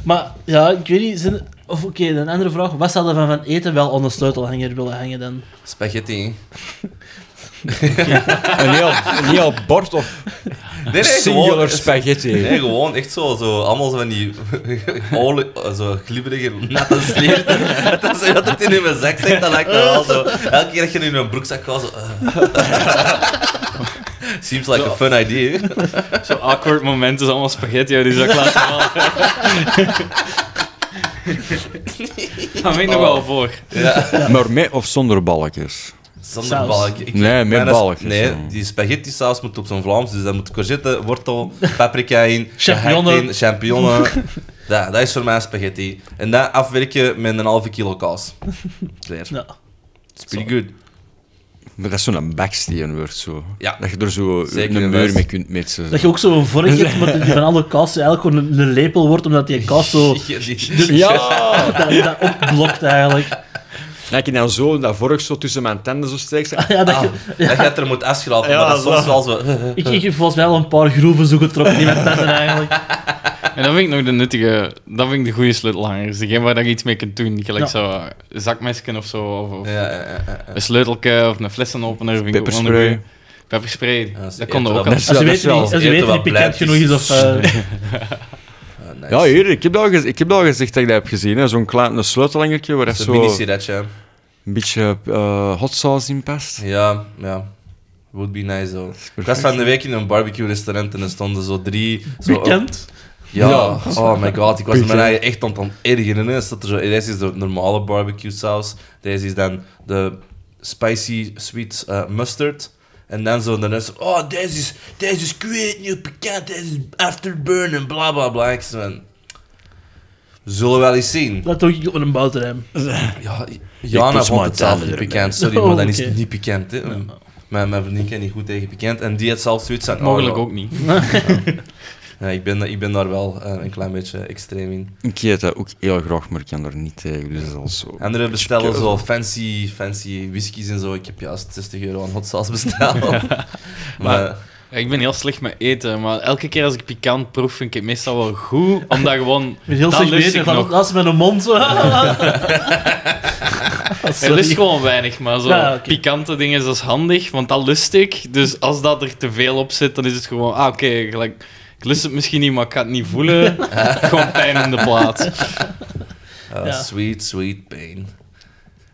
D: maar ja, ik weet niet... Zijn, of oké, een andere vraag. Wat zouden van van eten wel onder sleutelhanger willen hangen dan?
B: <laughs> Spaghetti.
E: Een heel, een heel bord of
B: Nee, nee,
E: singular
B: gewoon,
E: spaghetti.
B: nee, gewoon echt zo, zo. Allemaal zo van die <laughs> olie, zo glibberige natte slier. <laughs> Dat is dat het in mijn zak zit, dat lijkt me wel zo. Elke keer dat je in een broekzak gaat, zo... eh. <laughs> Seems like a fun idea.
C: Zo awkward momenten, allemaal spaghetti uit die zak laten halen. Dat weet ik nog wel voor.
E: Maar met of zonder balkjes?
B: Zonder
D: Saus.
B: balk. Ik-
E: Nee, met
B: mijn is-
E: balkjes,
B: Nee,
E: ja.
B: die spaghetti saus moet op zijn Vlaams. Dus daar moet courgette,
D: <laughs>
B: wortel, paprika in,
D: Champignonnen.
B: gehakt in,
D: <laughs>
B: champignonnen. dat, dat is voor mij spaghetti. En dat afwerken met een halve kilo kaas. Klaar.
D: Ja.
B: It's pretty good.
E: Maar dat is zo'n backsteen wordt zo.
B: Ja.
E: Dat je er zo
B: Zeker
E: een
B: en
E: muur
B: vast.
E: mee kunt metsen.
D: Dat je ook zo'n vork hebt, maar die van alle kasten eigenlijk gewoon een, een lepel wordt, omdat die kast zo <laughs>
E: Ja!
D: dat, Oh, dat opblokt eigenlijk.
E: Dat je dan zo dat vork zo tussen mijn tanden zo steekt. zo-
D: Ja,
B: Ah.
D: dat je-
B: <laughs> Dat je het er moet afschrapen, maar dat is soms wel zo... <laughs>
D: ik, ik heb volgens mij al een paar groeven zo getrokken die met tanden eigenlijk.
C: En dat vind ik nog de nuttige, dat vind ik de goede sleutelhangers. Degene waar je iets mee kunt doen. Gelijk
D: Ja.
C: zo eh, zakmesken of zo. Of, of
B: Ja, ja, ja, ja.
C: een sleutelke of een flessenopener. vind ik ook
E: Pepperspray.
C: wel een goeie. Pepperspray.
B: Ja, dat is
C: dat
B: echt
C: kon er ook
B: wel-
C: al.
E: is
D: Als je
E: wel-
D: weet
E: is wel-
D: niet, als je
B: eten
D: weet
B: wat
D: niet pikant
B: blijft is.
D: genoeg is of... eh,
B: Ah, nice.
E: Ja, hier, ik heb dat al, gez- ik heb dat al gezegd dat ik dat heb gezien. hè. Zo'n klein een sleutelhangertje waar dat
B: Dat is
E: zo
B: een mini-siretje.
E: een beetje eh hot sauce in past.
B: Ja, ja. Would be nice, though. Ik was van de week in een barbecue-restaurant en er stonden zo drie... Zo
D: pikant?
B: Ja,
E: Ja.
B: oh my god, ik was me
E: Puntje.
B: eigen echt aan het ergeren. hè. Er staat er zo, deze is de normale barbecue saus, deze is dan de spicy sweet eh, mustard. En dan zo de rest, oh, deze is, deze is kweetnieuw pikant, deze is afterburn en bla bla bla. Ik zei van, we zullen wel eens zien.
D: Dat doe ik met een boterham.
B: Ja, Jana
E: put
B: vond
E: my
B: het zelf
E: tanden
B: niet
E: erin.
B: pikant, sorry,
D: Oh,
B: maar dan is
D: oké.
B: het niet pikant. Hè. Mijn, mijn vriendin kan niet goed tegen pikant en die had zelf zoiets van... oh,
C: Mogelijk
B: ja.
C: ook niet.
B: Ja, ik, ben, ik ben daar wel eh, een klein beetje extreem in.
E: Ik eet dat ook heel graag, maar ik kan er niet tegen. Dus dat is al zo.
B: Anderen bestellen
E: keuze.
B: zo fancy, fancy whiskies en zo. Ik heb juist 60 euro aan hot sauce besteld. maar
C: Ja, ik ben heel slecht met eten, maar elke keer als ik pikant proef, vind ik het meestal wel goed. Omdat gewoon...
D: <laughs> Ik ben heel
C: dat
D: slecht
C: lust
D: bezig,
C: ik
D: van
C: nog.
D: naast mijn mond zo. <laughs>
C: Er lust
D: Sorry.
C: gewoon weinig, maar zo
D: Ja, oké.
C: pikante dingen dat is handig, want dat lust ik. Dus als dat er te veel op zit, dan is het gewoon... Ah, oké, gelijk... Ik lust het misschien niet, maar ik ga het niet voelen.
E: <laughs>
C: Gewoon pijn in de plaats.
B: eh,
D: Ja.
B: sweet, sweet pain.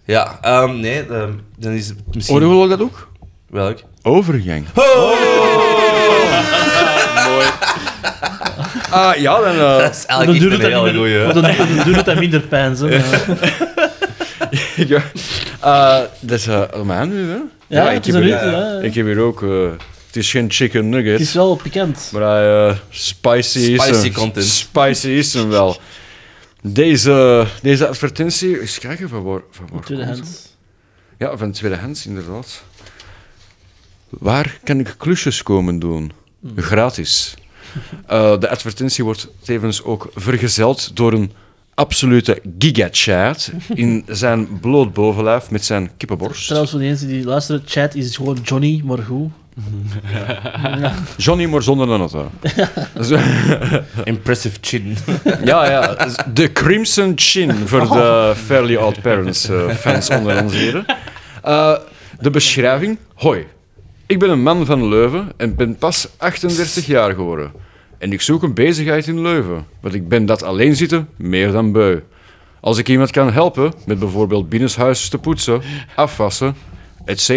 B: Ja, ehm, nee, ehm, dan is het misschien...
E: Hoorden jullie dat ook?
D: <laughs>
B: Welk?
E: Overgang.
C: Mooi.
E: Ah, ja, dan... eh, <laughs>
B: Dat is
D: Want dan
B: eigenlijk
D: doet
B: echt
D: het
B: een
D: dat
B: hele
D: niet meer-
B: goeie.
D: want dan- dan doet het dat minder pijn. Zo.
E: ja. Eh, dat is eh, om aan nu, hè?
D: Ja, het
E: ik,
D: is
E: heb
D: een
E: hier,
D: uur, ja.
E: ik heb hier ook... eh, het is geen chicken
D: Het
E: nugget,
D: is wel pikant.
E: maar hij, eh, spicy is
B: Spicy
E: hem.
B: content.
E: Spicy is hem wel. Deze, deze advertentie... Eens kijken, van waar, van waar komt het?
D: Tweedehands.
E: Ja, van tweedehands, inderdaad. Waar kan ik klusjes komen doen? Gratis. Eh, de advertentie wordt tevens ook vergezeld door een absolute gigachat in zijn bloot bovenlijf met zijn kippenborst.
D: Trouwens, voor de mensen die luisteren, chat is gewoon Johnny, maar goed.
E: Johnny, maar zonder een auto. Zo-
B: Impressive chin.
E: ja, ja. De Crimson Chin voor de Fairly Odd Parents eh, fans onder ons hier. Eh, de beschrijving. Hoi, ik ben een man van Leuven en ben pas 38 jaar geworden. En ik zoek een bezigheid in Leuven, want ik ben dat alleen zitten meer dan beu. Als ik iemand kan helpen met bijvoorbeeld binnenshuis te poetsen, afwassen, etc.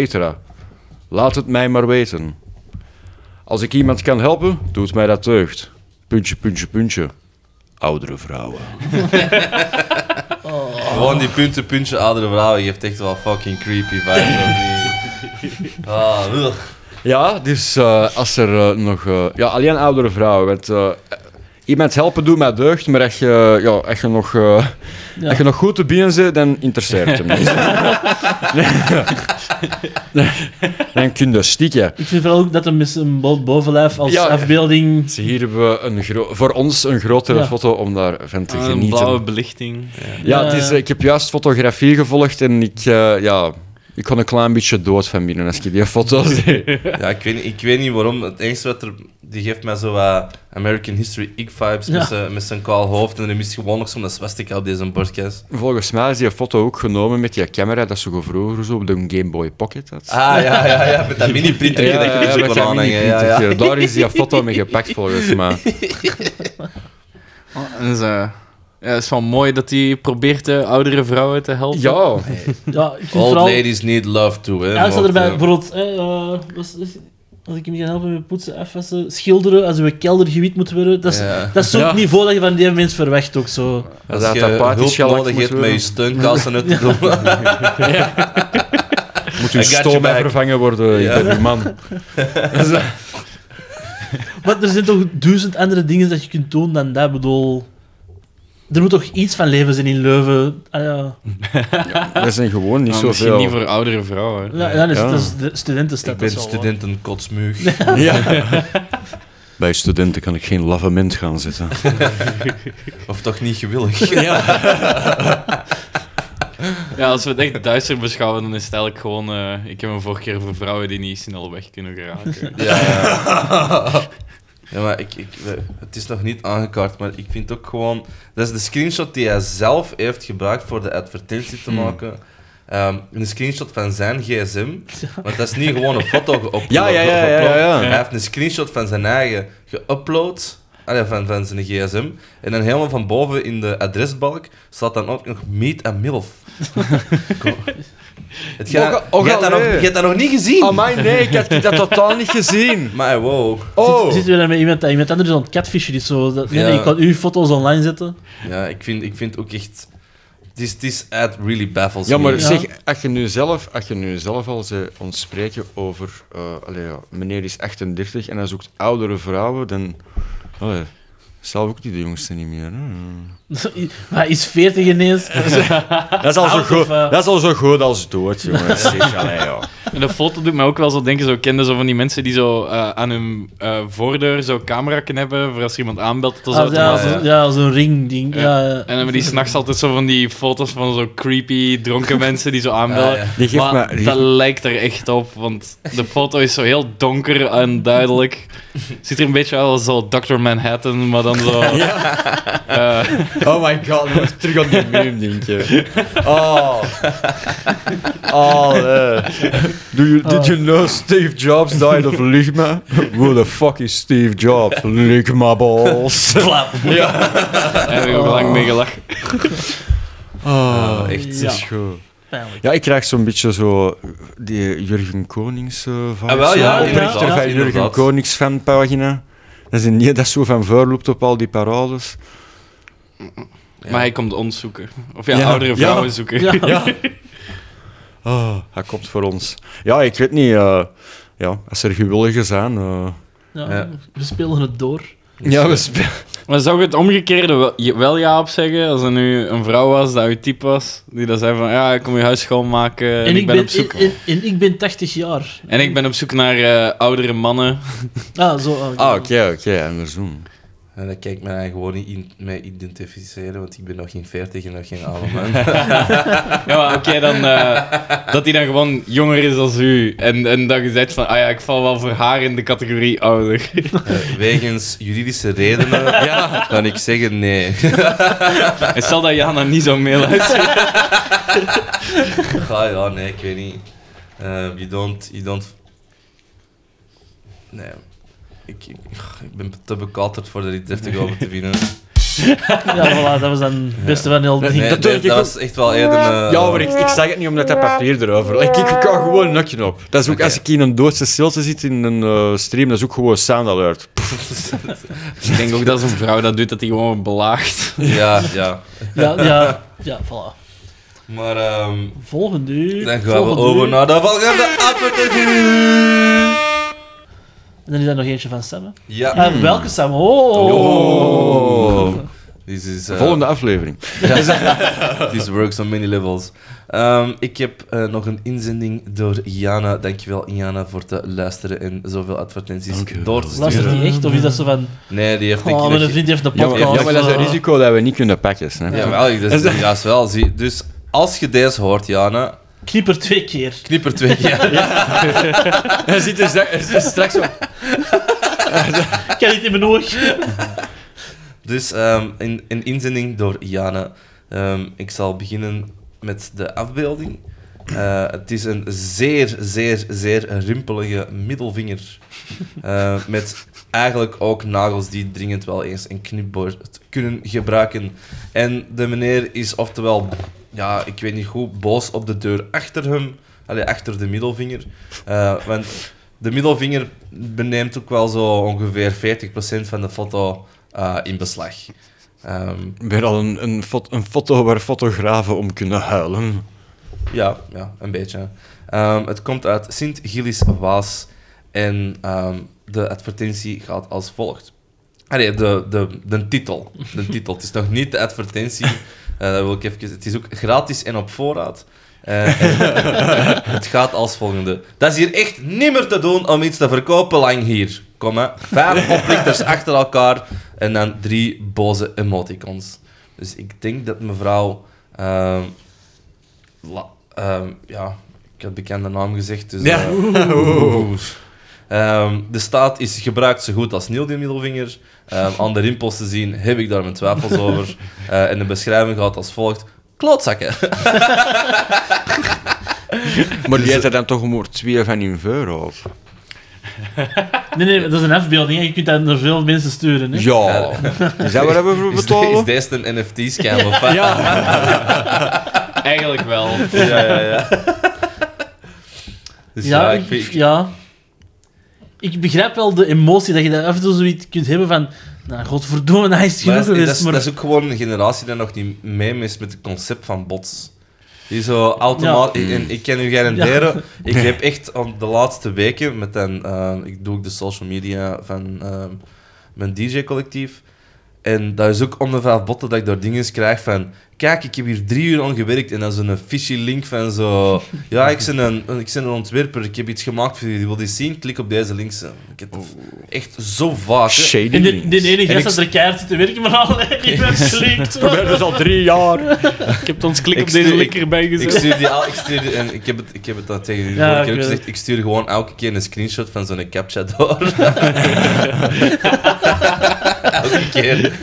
E: Laat het mij maar weten. Als ik iemand kan helpen, doet mij dat deugd. Puntje, puntje, puntje oudere vrouwen.
B: <laughs> Gewoon die punten, puntje, oudere vrouwen geeft echt wel fucking creepy vibes.
D: <laughs>
B: of niet? Ah, ugh.
E: Ja, dus eh, als er eh, nog... eh, ja, alleen oudere vrouwen. Want, eh, iemand helpen doet mij deugd, maar als je, ja, als je, nog, eh,
D: Ja.
E: als je nog goed te bieden zit, dan interesseert het me
D: <laughs>
E: niet. dan kun je stikken.
D: Ik vind vooral ook dat hem met zijn bo- bovenlijf als
E: Ja, ja.
D: afbeelding...
E: Hier hebben we een gro- voor ons een grotere
D: Ja.
E: foto om daarvan te
C: Ah, Een
E: genieten.
C: blauwe belichting.
E: Ja,
D: Ja,
E: het is,
D: ja.
E: ik heb juist fotografie gevolgd en ik, eh, ja, ik kon een klein beetje dood van binnen als je die foto ziet.
B: Ja, ik weet, niet- ik weet niet waarom. Het enige wat er... Die geeft mij zo wat American History Ick vibes
D: Ja.
B: met zijn- met zijn kaal hoofd. En dan is gewoon nog zo'n swastika op deze podcast.
E: Volgens mij is die foto ook genomen met die camera dat ze gewoon vroeger zo op de Game Boy Pocket had.
B: Ah, ja, ja, ja, <laughs> met dat mini-printer dat je niet zo
E: met
B: kon
E: dat
B: aanhangen. Ja, ja.
E: mini-printertje. Daar is die foto mee gepakt volgens mij.
B: <laughs>
C: Oh, en zo. Ja, het is wel mooi dat hij probeert de oudere vrouwen te helpen.
E: Ja,
D: Ja, ik vind
B: Old
D: vooral...
B: ladies need love too, hè.
D: Eigenlijk staat erbij,
B: want, eh,
D: bijvoorbeeld... eh, eh, was- is- als ik hem kan helpen met poetsen, afwassen, schilderen, als we kelder gewit moet worden. Dat is,
B: Ja.
D: dat is zo'n
E: Ja.
D: niveau dat je van die mens verwacht ook zo.
E: dat
B: Als
E: dat
B: je eh,
E: apathisch
B: hulp
E: gelakt
B: nodig
E: moet
B: hebt met je
E: worden.
B: steunkassen uit te doen. <laughs>
E: Moet
B: I
E: uw
B: got you
E: stoom
B: back.
E: vervangen worden,
B: Ja.
E: je bent een man.
D: Maar er zijn toch duizend andere dingen dat je kunt doen dan dat, bedoel... er moet toch iets van leven zijn in Leuven. Ah, ja.
E: Dat zijn gewoon niet
C: Maar
E: zoveel.
C: Nou, misschien niet voor oudere vrouwen.
D: Ja, ja, dat is,
E: Ja.
D: dat is de studentenstad.
B: Ik ben
D: dat is wel waar.
B: studenten kotsmuug.
E: <laughs> Ja.
B: <laughs>
E: Bij studenten kan ik geen lavament gaan zitten.
B: Of toch niet gewillig.
C: Ja, als we het echt duister beschouwen, dan is het eigenlijk gewoon... eh, ik heb een voorkeur voor vrouwen die niet snel weg kunnen
B: <laughs>
C: geraken.
B: Ja, ja. ja maar ik, ik, we- het is nog niet aangekaart, maar ik vind ook gewoon... Dat is de screenshot die hij zelf heeft gebruikt voor de advertentie te maken. Ehm, een screenshot van zijn gsm. Want dat is niet gewoon een foto geüpload.
E: Ja, ja, ja, ja, ja, ja.
B: Hij heeft een screenshot van zijn eigen geüpload. allee, van, van zijn gsm. En dan helemaal van boven in de adresbalk staat dan ook nog meet en
D: <laughs>
B: milf. Kom. Het gaat,
E: Och, och,
B: je hebt dat nog-
E: allee.
B: je hebt dat nog niet gezien.
E: Amai, nee, ik had dat totaal niet gezien.
B: maar wow.
E: Oh,
D: Zitten we dan met iemand, dat iemand anders aan het catfishen is? Zo, dat, nee,
B: Ja.
D: nee, ik kan uw foto's online zetten. <laughs>
B: Ja, ik vind, ik vind ook echt. Het is, het is it really baffles
E: Ja, maar
B: me.
D: Ja.
E: zeg, als je nu zelf, als je nu zelf al ze ons spreken over... eh, allee, ja, meneer is 38 en hij zoekt oudere vrouwen, dan... Allee, zelf ook niet de jongste niet
D: <laughs>
E: meer. hè.
D: Maar is 40 ineens?
E: Dat, is al zo
D: Oud
E: goed,
D: of, eh?
E: dat is al zo goed als dood,
D: <laughs>
E: jongen. Zeg, allee, ja.
C: En de foto doet mij ook wel zo denken, zo kende zo van die mensen die zo eh, aan hun eh, voordeur zo'n camera kunnen hebben, voor als er iemand aanbelt, dat dat zo
D: Ah, ja,
C: automatisch-
B: ja.
D: zo'n ja, zo'n ringding.
C: Ja.
D: Ja. Ja,
C: En dan hebben die s'nachts altijd zo van die foto's van zo creepy dronken mensen die zo aanbellen.
B: Ja, ja.
E: Die geeft
C: maar
E: me- die
C: dat
E: geeft-
C: lijkt er echt op, want de foto is zo heel donker en duidelijk. Ziet er een beetje uit als zo Dr. Manhattan, maar dan zo... Eh,
E: Oh my god, nu moet ik terug op die meme
D: <laughs>
E: denken. Oh. Oh, eh. Do you, did you know Steve Jobs died of
D: <laughs>
E: ligma? Who the fuck is Steve Jobs? Ligma
D: <laughs>
E: balls.
D: Klap.
E: Ja.
C: daar heb ik ook lang mee gelachen.
E: Oh,
B: echt,
E: echt
D: ja.
E: is goed.
D: Pijnlijk.
E: Ja, ik krijg zo'n beetje zo die Jurgen Konings eh vibes.
B: Ah, wel,
D: ja,
E: zo,
D: inderdaad,
E: oprichter van
B: ja.
E: Jurgen
B: inderdaad.
E: Konings fanpagina. Dat is niet dat zo van voorloopt op al die parades.
C: Maar hij komt ons zoeken. Of ja,
E: Ja.
C: oudere vrouwen
E: Ja.
C: zoeken.
D: <laughs> Ja.
E: Ah, hij komt voor ons. Ja, ik weet niet. eh, ja, als er gewilligen zijn. eh.
D: Ja,
B: Ja.
D: We spelen het door.
E: Ja, we spelen.
C: Maar zou je het omgekeerde wel- je- wel ja op zeggen? Als er nu een vrouw was, dat uw type was, die dan zei van, ja, ik kom je huis schoonmaken en, ik ben, op zoek...
D: en, en, en ik ben 80 jaar.
C: En ik ben op zoek naar eh, oudere mannen.
D: Ah, zo.
E: Ah, oké, oké, andersom.
B: En dan kijk ik mij gewoon niet in, mij identificeren, want ik ben nog geen 40 en nog geen oude
D: <laughs>
B: man.
C: Ja, maar oké, dan... eh, dat hij dan gewoon jonger is dan u. En, en dat je zegt van, ah ja, ik val wel voor haar in de categorie ouder.
B: Eh, wegens juridische redenen kan ik zeggen nee.
C: En stel dat Jana niet zo mail uitstuurt.
B: Ga ja, nee, ik weet niet. Eh, you don't, you don't. Nee. Ik, ik, ik ben te bekaterd voor er iets deftig over
E: <laughs>
B: te vinden.
D: Ja, voilà, dat was dan het beste van heel ding.
B: Nee,
E: dat
B: dat,
E: doe ik
B: dat
E: ook.
B: was echt wel eerder. eh,
E: Ja, maar ik, ik zeg het niet omdat dat papier erover ligt. Ik kan gewoon een nokje op. Dat is ook,
B: Oké.
E: als ik in een doodse stilte zit in een eh, stream, dat is ook gewoon sound alert.
C: Ik denk ook dat zo'n vrouw dat doet, dat hij gewoon belaagt.
B: Ja, ja.
D: Ja, ja, ja, voilà.
B: Maar ehm,
D: Volgende uur.
B: dan gaan we
D: volgende
B: over
D: uur.
B: naar de volgende advertentie.
D: En dan is er nog eentje van Sam. hè.
B: Ja.
D: Ah, welke Sam? Oh!
B: Oh. This is, eh, <laughs>
E: Volgende aflevering.
B: This works on many levels. Ehm, ik heb eh, nog een inzending door Jana. Dankjewel, Jana, voor te luisteren en zoveel advertenties
E: Dankjewel.
B: door te
D: Luistert
B: sturen.
D: die echt? Of is dat zo van.
B: Nee, die heeft een
D: Oh,
B: keer-
D: mijn vriend heeft een
E: Ja, maar,
D: podcast.
E: ja, maar dat is een
D: eh.
E: risico dat we niet kunnen pakken. Hè?
B: Ja, wel, dat is juist wel. Zie. Dus als je deze hoort, Jana,
D: Knip er twee keer.
B: knip er twee keer.
E: Hij zit er stra- hij zit er straks op.
D: Ik kan niet in mijn oog.
B: Dus ehm, een, een inzending door Jana. Ehm, ik zal beginnen met de afbeelding. Eh, het is een zeer, zeer, zeer rimpelige middelvinger. Eh, met eigenlijk ook nagels die dringend wel eens een knipboord kunnen gebruiken. En de meneer is oftewel, ja, ik weet niet goed, boos op de deur achter hem. Allee, achter de middelvinger. Eh, want de middelvinger beneemt ook wel zo ongeveer 40% van de foto eh, in beslag. Ehm,
E: Weer al een, een, fot- een foto waar fotografen om kunnen huilen.
B: Ja, ja, een beetje. Ehm, het komt uit Sint-Gillis Waas en ehm, de advertentie gaat als volgt. Allee, de, de, de titel. De titel. Het is nog niet de advertentie. Eh, dat wil ik even... Het is ook gratis en op voorraad. Eh, en <laughs> het gaat als volgende. Dat is hier echt nimmer te doen om iets te verkopen lang hier. Kom hè. Vijf oplichters achter elkaar en dan drie boze emoticons. Dus ik denk dat mevrouw... ehm, la- ehm, ja, ik heb bekende naam gezegd, dus...
E: Ja.
B: eh, Oeh. <laughs> Ehm, de staat is gebruikt zo goed als nieuw, die middelvinger. Ehm, aan de rimpels te zien heb ik daar mijn <laughs> twijfels over. Eh, en de beschrijving gaat als volgt. Klootzakken.
E: Maar die heeft er dan toch maar twee van in euro.
D: Nee, nee, dat is een afbeelding. hè. Je kunt dat naar veel mensen sturen. Hè?
E: Ja. Is dat waar we
B: <laughs>
E: voor
B: Is, de- is
E: betalen?
B: deze een NFT-scam of wat?
C: Eigenlijk wel.
B: <laughs> ja, ja, ja. Dus ja, ik vind...
D: ja. Ik begrijp wel de emotie dat je daar af en toe zoiets kunt hebben van... Nou, godverdomme, dat is
B: Maar
D: genoeg
B: dat, is, dat
D: geweest.
B: is-
D: maar-
B: dat is ook gewoon een generatie die nog niet mee is met het concept van bots. Die zo automatisch... En ik kan u garanderen,
D: <laughs>
B: ik heb echt aan de laatste weken, met een, ehm, ik doe ook de social media van ehm, mijn DJ-collectief, en dat is ook om de vijf botten dat ik daar dingen krijg van... Kijk, ik heb hier drie uur aan gewerkt en dat is een fishy link van
D: <laughs>
B: zo... Ja, ik ben een, een- ik ben een ontwerper, ik heb iets gemaakt voor jullie, wil je zien? Klik op deze links. Ik heb het echt zo vaak... hè.
E: Shady
D: En de, de
E: links.
D: ene
B: En
D: gast
B: ik-
D: dat er keihard zit te werken, maar <laughs> alleen
B: <laughs>
D: werd geslikt.
E: Probeer dus al drie jaar.
C: Ik heb ons klik
B: Ik
C: op deze
B: stuur-
C: link erbij
B: Ik
C: gezet.
B: stuur die al, ik stuur die- en ik heb het, ik heb het dan tegen jullie
D: Ja,
B: vorige
D: ik
B: keer ook
D: weet
B: gezegd, ik stuur gewoon elke keer een screenshot van zo'n captcha
D: <laughs>
B: door. <laughs> elke keer.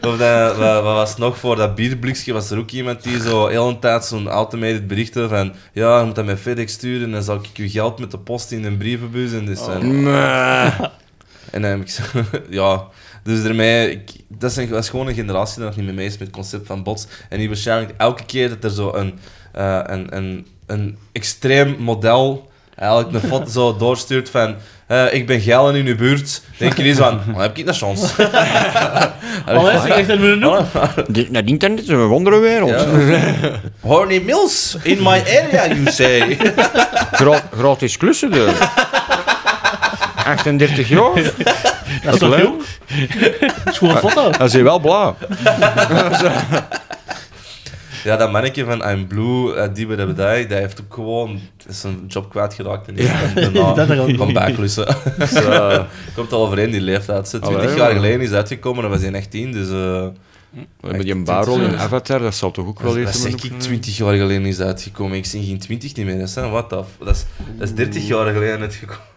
B: Of dat, wat, wat was het nog voor dat bierblikje, was er ook iemand die zo heel een tijd zo'n automated berichten van, ja, je moet dat met FedEx sturen, en dan zal ik je geld met de post in een brievenbus en dus. en-
E: Nee.
B: en dan heb ik zo, <laughs> ja. Dus daarmee, ik, dat, is een, dat is gewoon een generatie die nog niet mee mee is met het concept van bots. En die waarschijnlijk elke keer dat er zo een, eh, een, een, een extreem model eigenlijk een foto zo doorstuurt van eh, ik ben geil en in uw buurt, denk je niet zo van, <laughs> dan heb ik dat chance.
D: Alles, ik echt een minuut.
E: Dit- Dat internet is een wonderenwereld.
B: Ja. Horny Mills, in my area, you say.
E: Gra- gratis klussen dus. 38 jaar?
D: Dat is toch
E: leuk.
D: jong?
B: <laughs>
D: Dat is gewoon een foto.
E: Dat is hier wel blauw.
B: Ja, dat mannetje van I'm Blue, eh, die bij de bedij, die heeft ook gewoon zijn job kwijtgeraakt. En is
D: <laughs>
B: dan
D: Dat er
B: daarna
D: ook
B: van
D: <laughs>
B: baaklussen. Dus, eh, komt al overeen die leeftijd. Ze
E: Allee,
B: 20 jaar
E: ja.
B: geleden is hij uitgekomen, dan was hij 18. Dus eh,
E: Met die barrel in Avatar, dat zal toch ook wel
B: dat
E: eens...
B: zeg
D: eh,
B: ik, 20 jaar geleden is hij uitgekomen. Ik zie geen 20 niet meer. Dat is, hè, what the f- dat is, dat is 30 jaar geleden uitgekomen.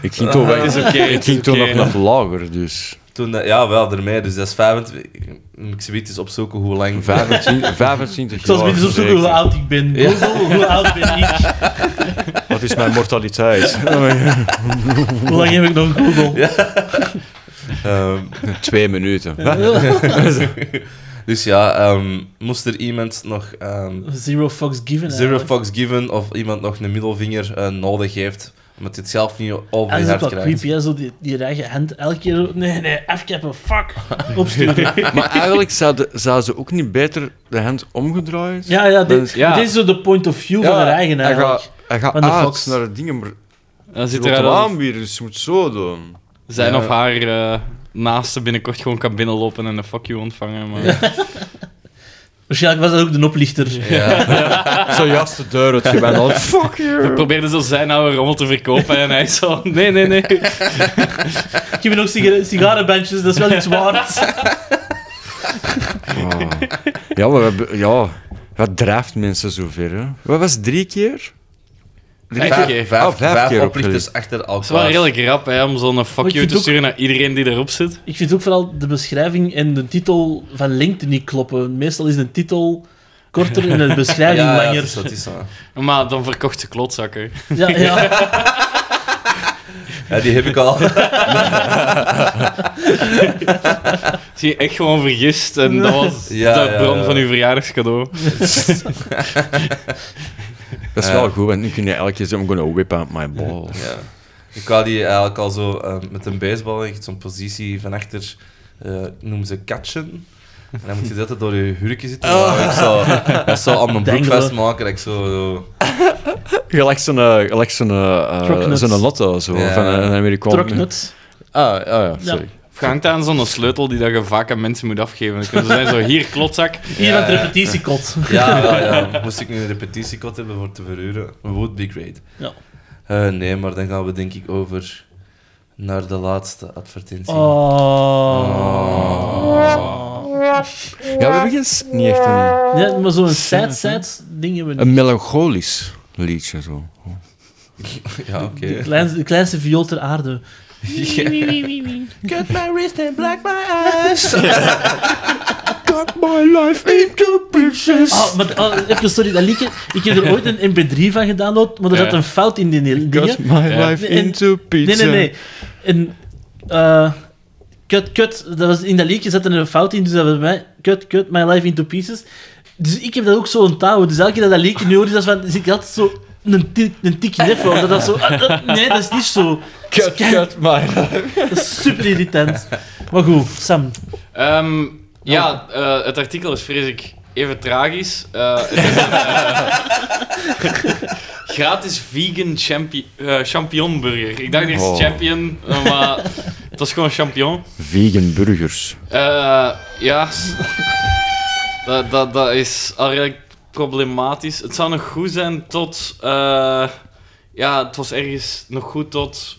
E: Ik ging toen,
C: Het is oké,
E: ik
C: het
E: ging
C: is
E: toen
C: oké.
E: nog nog lager, dus...
B: Toen dat, ja, wel, daarmee. Dus dat is 25. Ik zie het eens opzoeken hoe lang.
E: 25, 25
D: Ik zal eens
E: jaar.
D: eens opzoeken hoe oud ik ben. Google, hoe oud
B: <laughs>
D: ben ik?
E: Wat is mijn mortaliteit?
D: Hoe lang heb ik nog Google? <laughs>
B: Ehm, <laughs>
E: Twee minuten.
B: dus ja, ehm, moest er iemand nog. ehm,
D: Zero fucks given.
B: Zero
D: eigenlijk.
B: fucks given of iemand nog een middelvinger eh, nodig heeft, omdat hij het zelf niet over
D: En
B: je
D: dat is
B: hart
D: ook wel
B: krijgt.
D: creepy, hè? Zo die, die eigen hand elke keer. zo, Nee, nee, afkappen,
B: <laughs>
D: fuck. Opsturen.
E: Maar eigenlijk zouden zou ze ook niet beter de hand omgedraaid.
D: Ja, ja, dit,
C: Ja.
D: dit is zo de point of view
E: Ja,
D: van haar eigen
E: hij
D: eigenlijk.
E: gaat, hij gaat
D: Van de
E: uit
D: Fox.
E: naar de dingen, maar
C: Dan
E: zit
C: zit
E: er
C: er
E: aan
C: dan
E: weer, dus je moet zo <laughs> doen.
C: zijn
B: Ja.
C: of haar eh, naaste binnenkort gewoon kan binnenlopen en een fuck you ontvangen. Maar...
D: Waarschijnlijk was dat ook de oplichter.
B: Ja.
E: Zojuist de deur uit je bent al. Fuck
C: We
E: you!
C: probeerden zo zijn oude rommel te verkopen en hij zo... <laughs> Nee, nee, nee.
D: <laughs> Ik heb hier nog siga- sigarenbandjes, dat is wel iets waard.
E: Ah. Ja, maar we hebben- ja, wat drijft mensen zover? Hè? Wat was het, drie keer?
C: Vijf keer.
B: vijf,
E: Oh, vijf
B: vijf
E: keer
B: oplichters achter
C: Het is wel
B: elkaar.
C: redelijk rap hè, om zo'n fuck
D: ik
C: you
D: vind
C: te
D: ook-
C: sturen naar iedereen die erop zit.
D: Ik vind ook vooral de beschrijving en de titel van LinkedIn niet kloppen. Meestal is de titel korter en de beschrijving
B: ja, ja,
D: langer.
B: het is zo, het is zo.
C: Maar dan verkocht ze klotzakken.
D: <laughs> Ja, ja.
B: Ja, die heb ik
D: <laughs>
B: al.
C: Zie je echt gewoon vergist en dat was
B: <laughs> Ja,
C: de
B: ja,
C: bron
B: ja.
C: van uw verjaardagscadeau.
E: Dat is
B: Ja.
E: wel goed, want nu kun je elke keer zeggen, I'm gonna whip out my balls.
B: Ja. Ik had die eigenlijk al zo eh, met een baseball, echt zo'n positie van achter, eh noemen ze catchen. En dan moet je dat door je hurken zitten. Maar Ik zou,
D: <laughs>
B: ik zou aan mijn broek
D: Oh. Dangelen.
B: vastmaken. dat Ik zo, zo-
E: Je lijkt zo'n, eh, je lijkt zo'n, eh, eh,
D: Troknuts.
E: zo'n lotto, zo,
B: Ja.
E: van een Amerikaan.
D: Troknut.
E: Ah, ah ja, sorry.
D: Ja.
C: Of hangt dat aan zo'n sleutel die dat je vaak aan mensen moet afgeven? Dan kunnen ze zijn zo, hier, klotzak.
D: Hier aan het repetitiekot. <laughs>
B: Ja, ja, ja. Moest ik nu een repetitiekot hebben voor te verhuren? Would be great.
D: Ja.
B: Eh, nee, maar dan gaan we denk ik over naar de laatste
D: Oh.
B: advertentie.
E: Ja, we hebben geen s- niet echt een,
D: Ja, maar zo'n sad-sad ding hebben we
E: een
D: niet.
E: melancholisch liedje. Zo.
B: Ja, oké.
D: De kleinste, de kleinste viool ter aarde.
B: Cut my wrist and black my
E: <laughs>
B: eyes.
E: Cut my life into pieces.
D: Ah, maar ah, even sorry, dat liedje. Ik heb er ooit een mp3 van gedownload, maar er
C: Ja.
D: zat een fout in die dingen.
E: Cut my
C: Ja.
E: life
D: Nee, en-
E: into
D: Nee,
E: pieces.
D: nee, nee. En, eh, kut, kut. Dat was, in dat liedje zat er een fout in, dus dat was bij mij. Kut, kut, my life into pieces. Dus ik heb dat ook zo'n touw. Dus elke keer dat dat liedje nu hoor, is dat van, zit ik altijd zo een, tik, een tikje neffen. Omdat dat zo... ah, ah, nee, dat is niet zo.
E: Cut, cut my life.
D: Dat is super irritant. Maar goed, Sam.
C: Ehm, ja, eh, het artikel is vreselijk even tragisch. Eh, het is een, eh, <laughs> gratis vegan champi eh, champignonburger. Ik dacht eerst
E: Oh.
C: champion, eh, maar het was gewoon champignon.
E: Vegan burgers.
C: Eh, ja, dat, dat, dat is al redelijk problematisch. Het zou nog goed zijn tot... eh, ja, het was ergens nog goed tot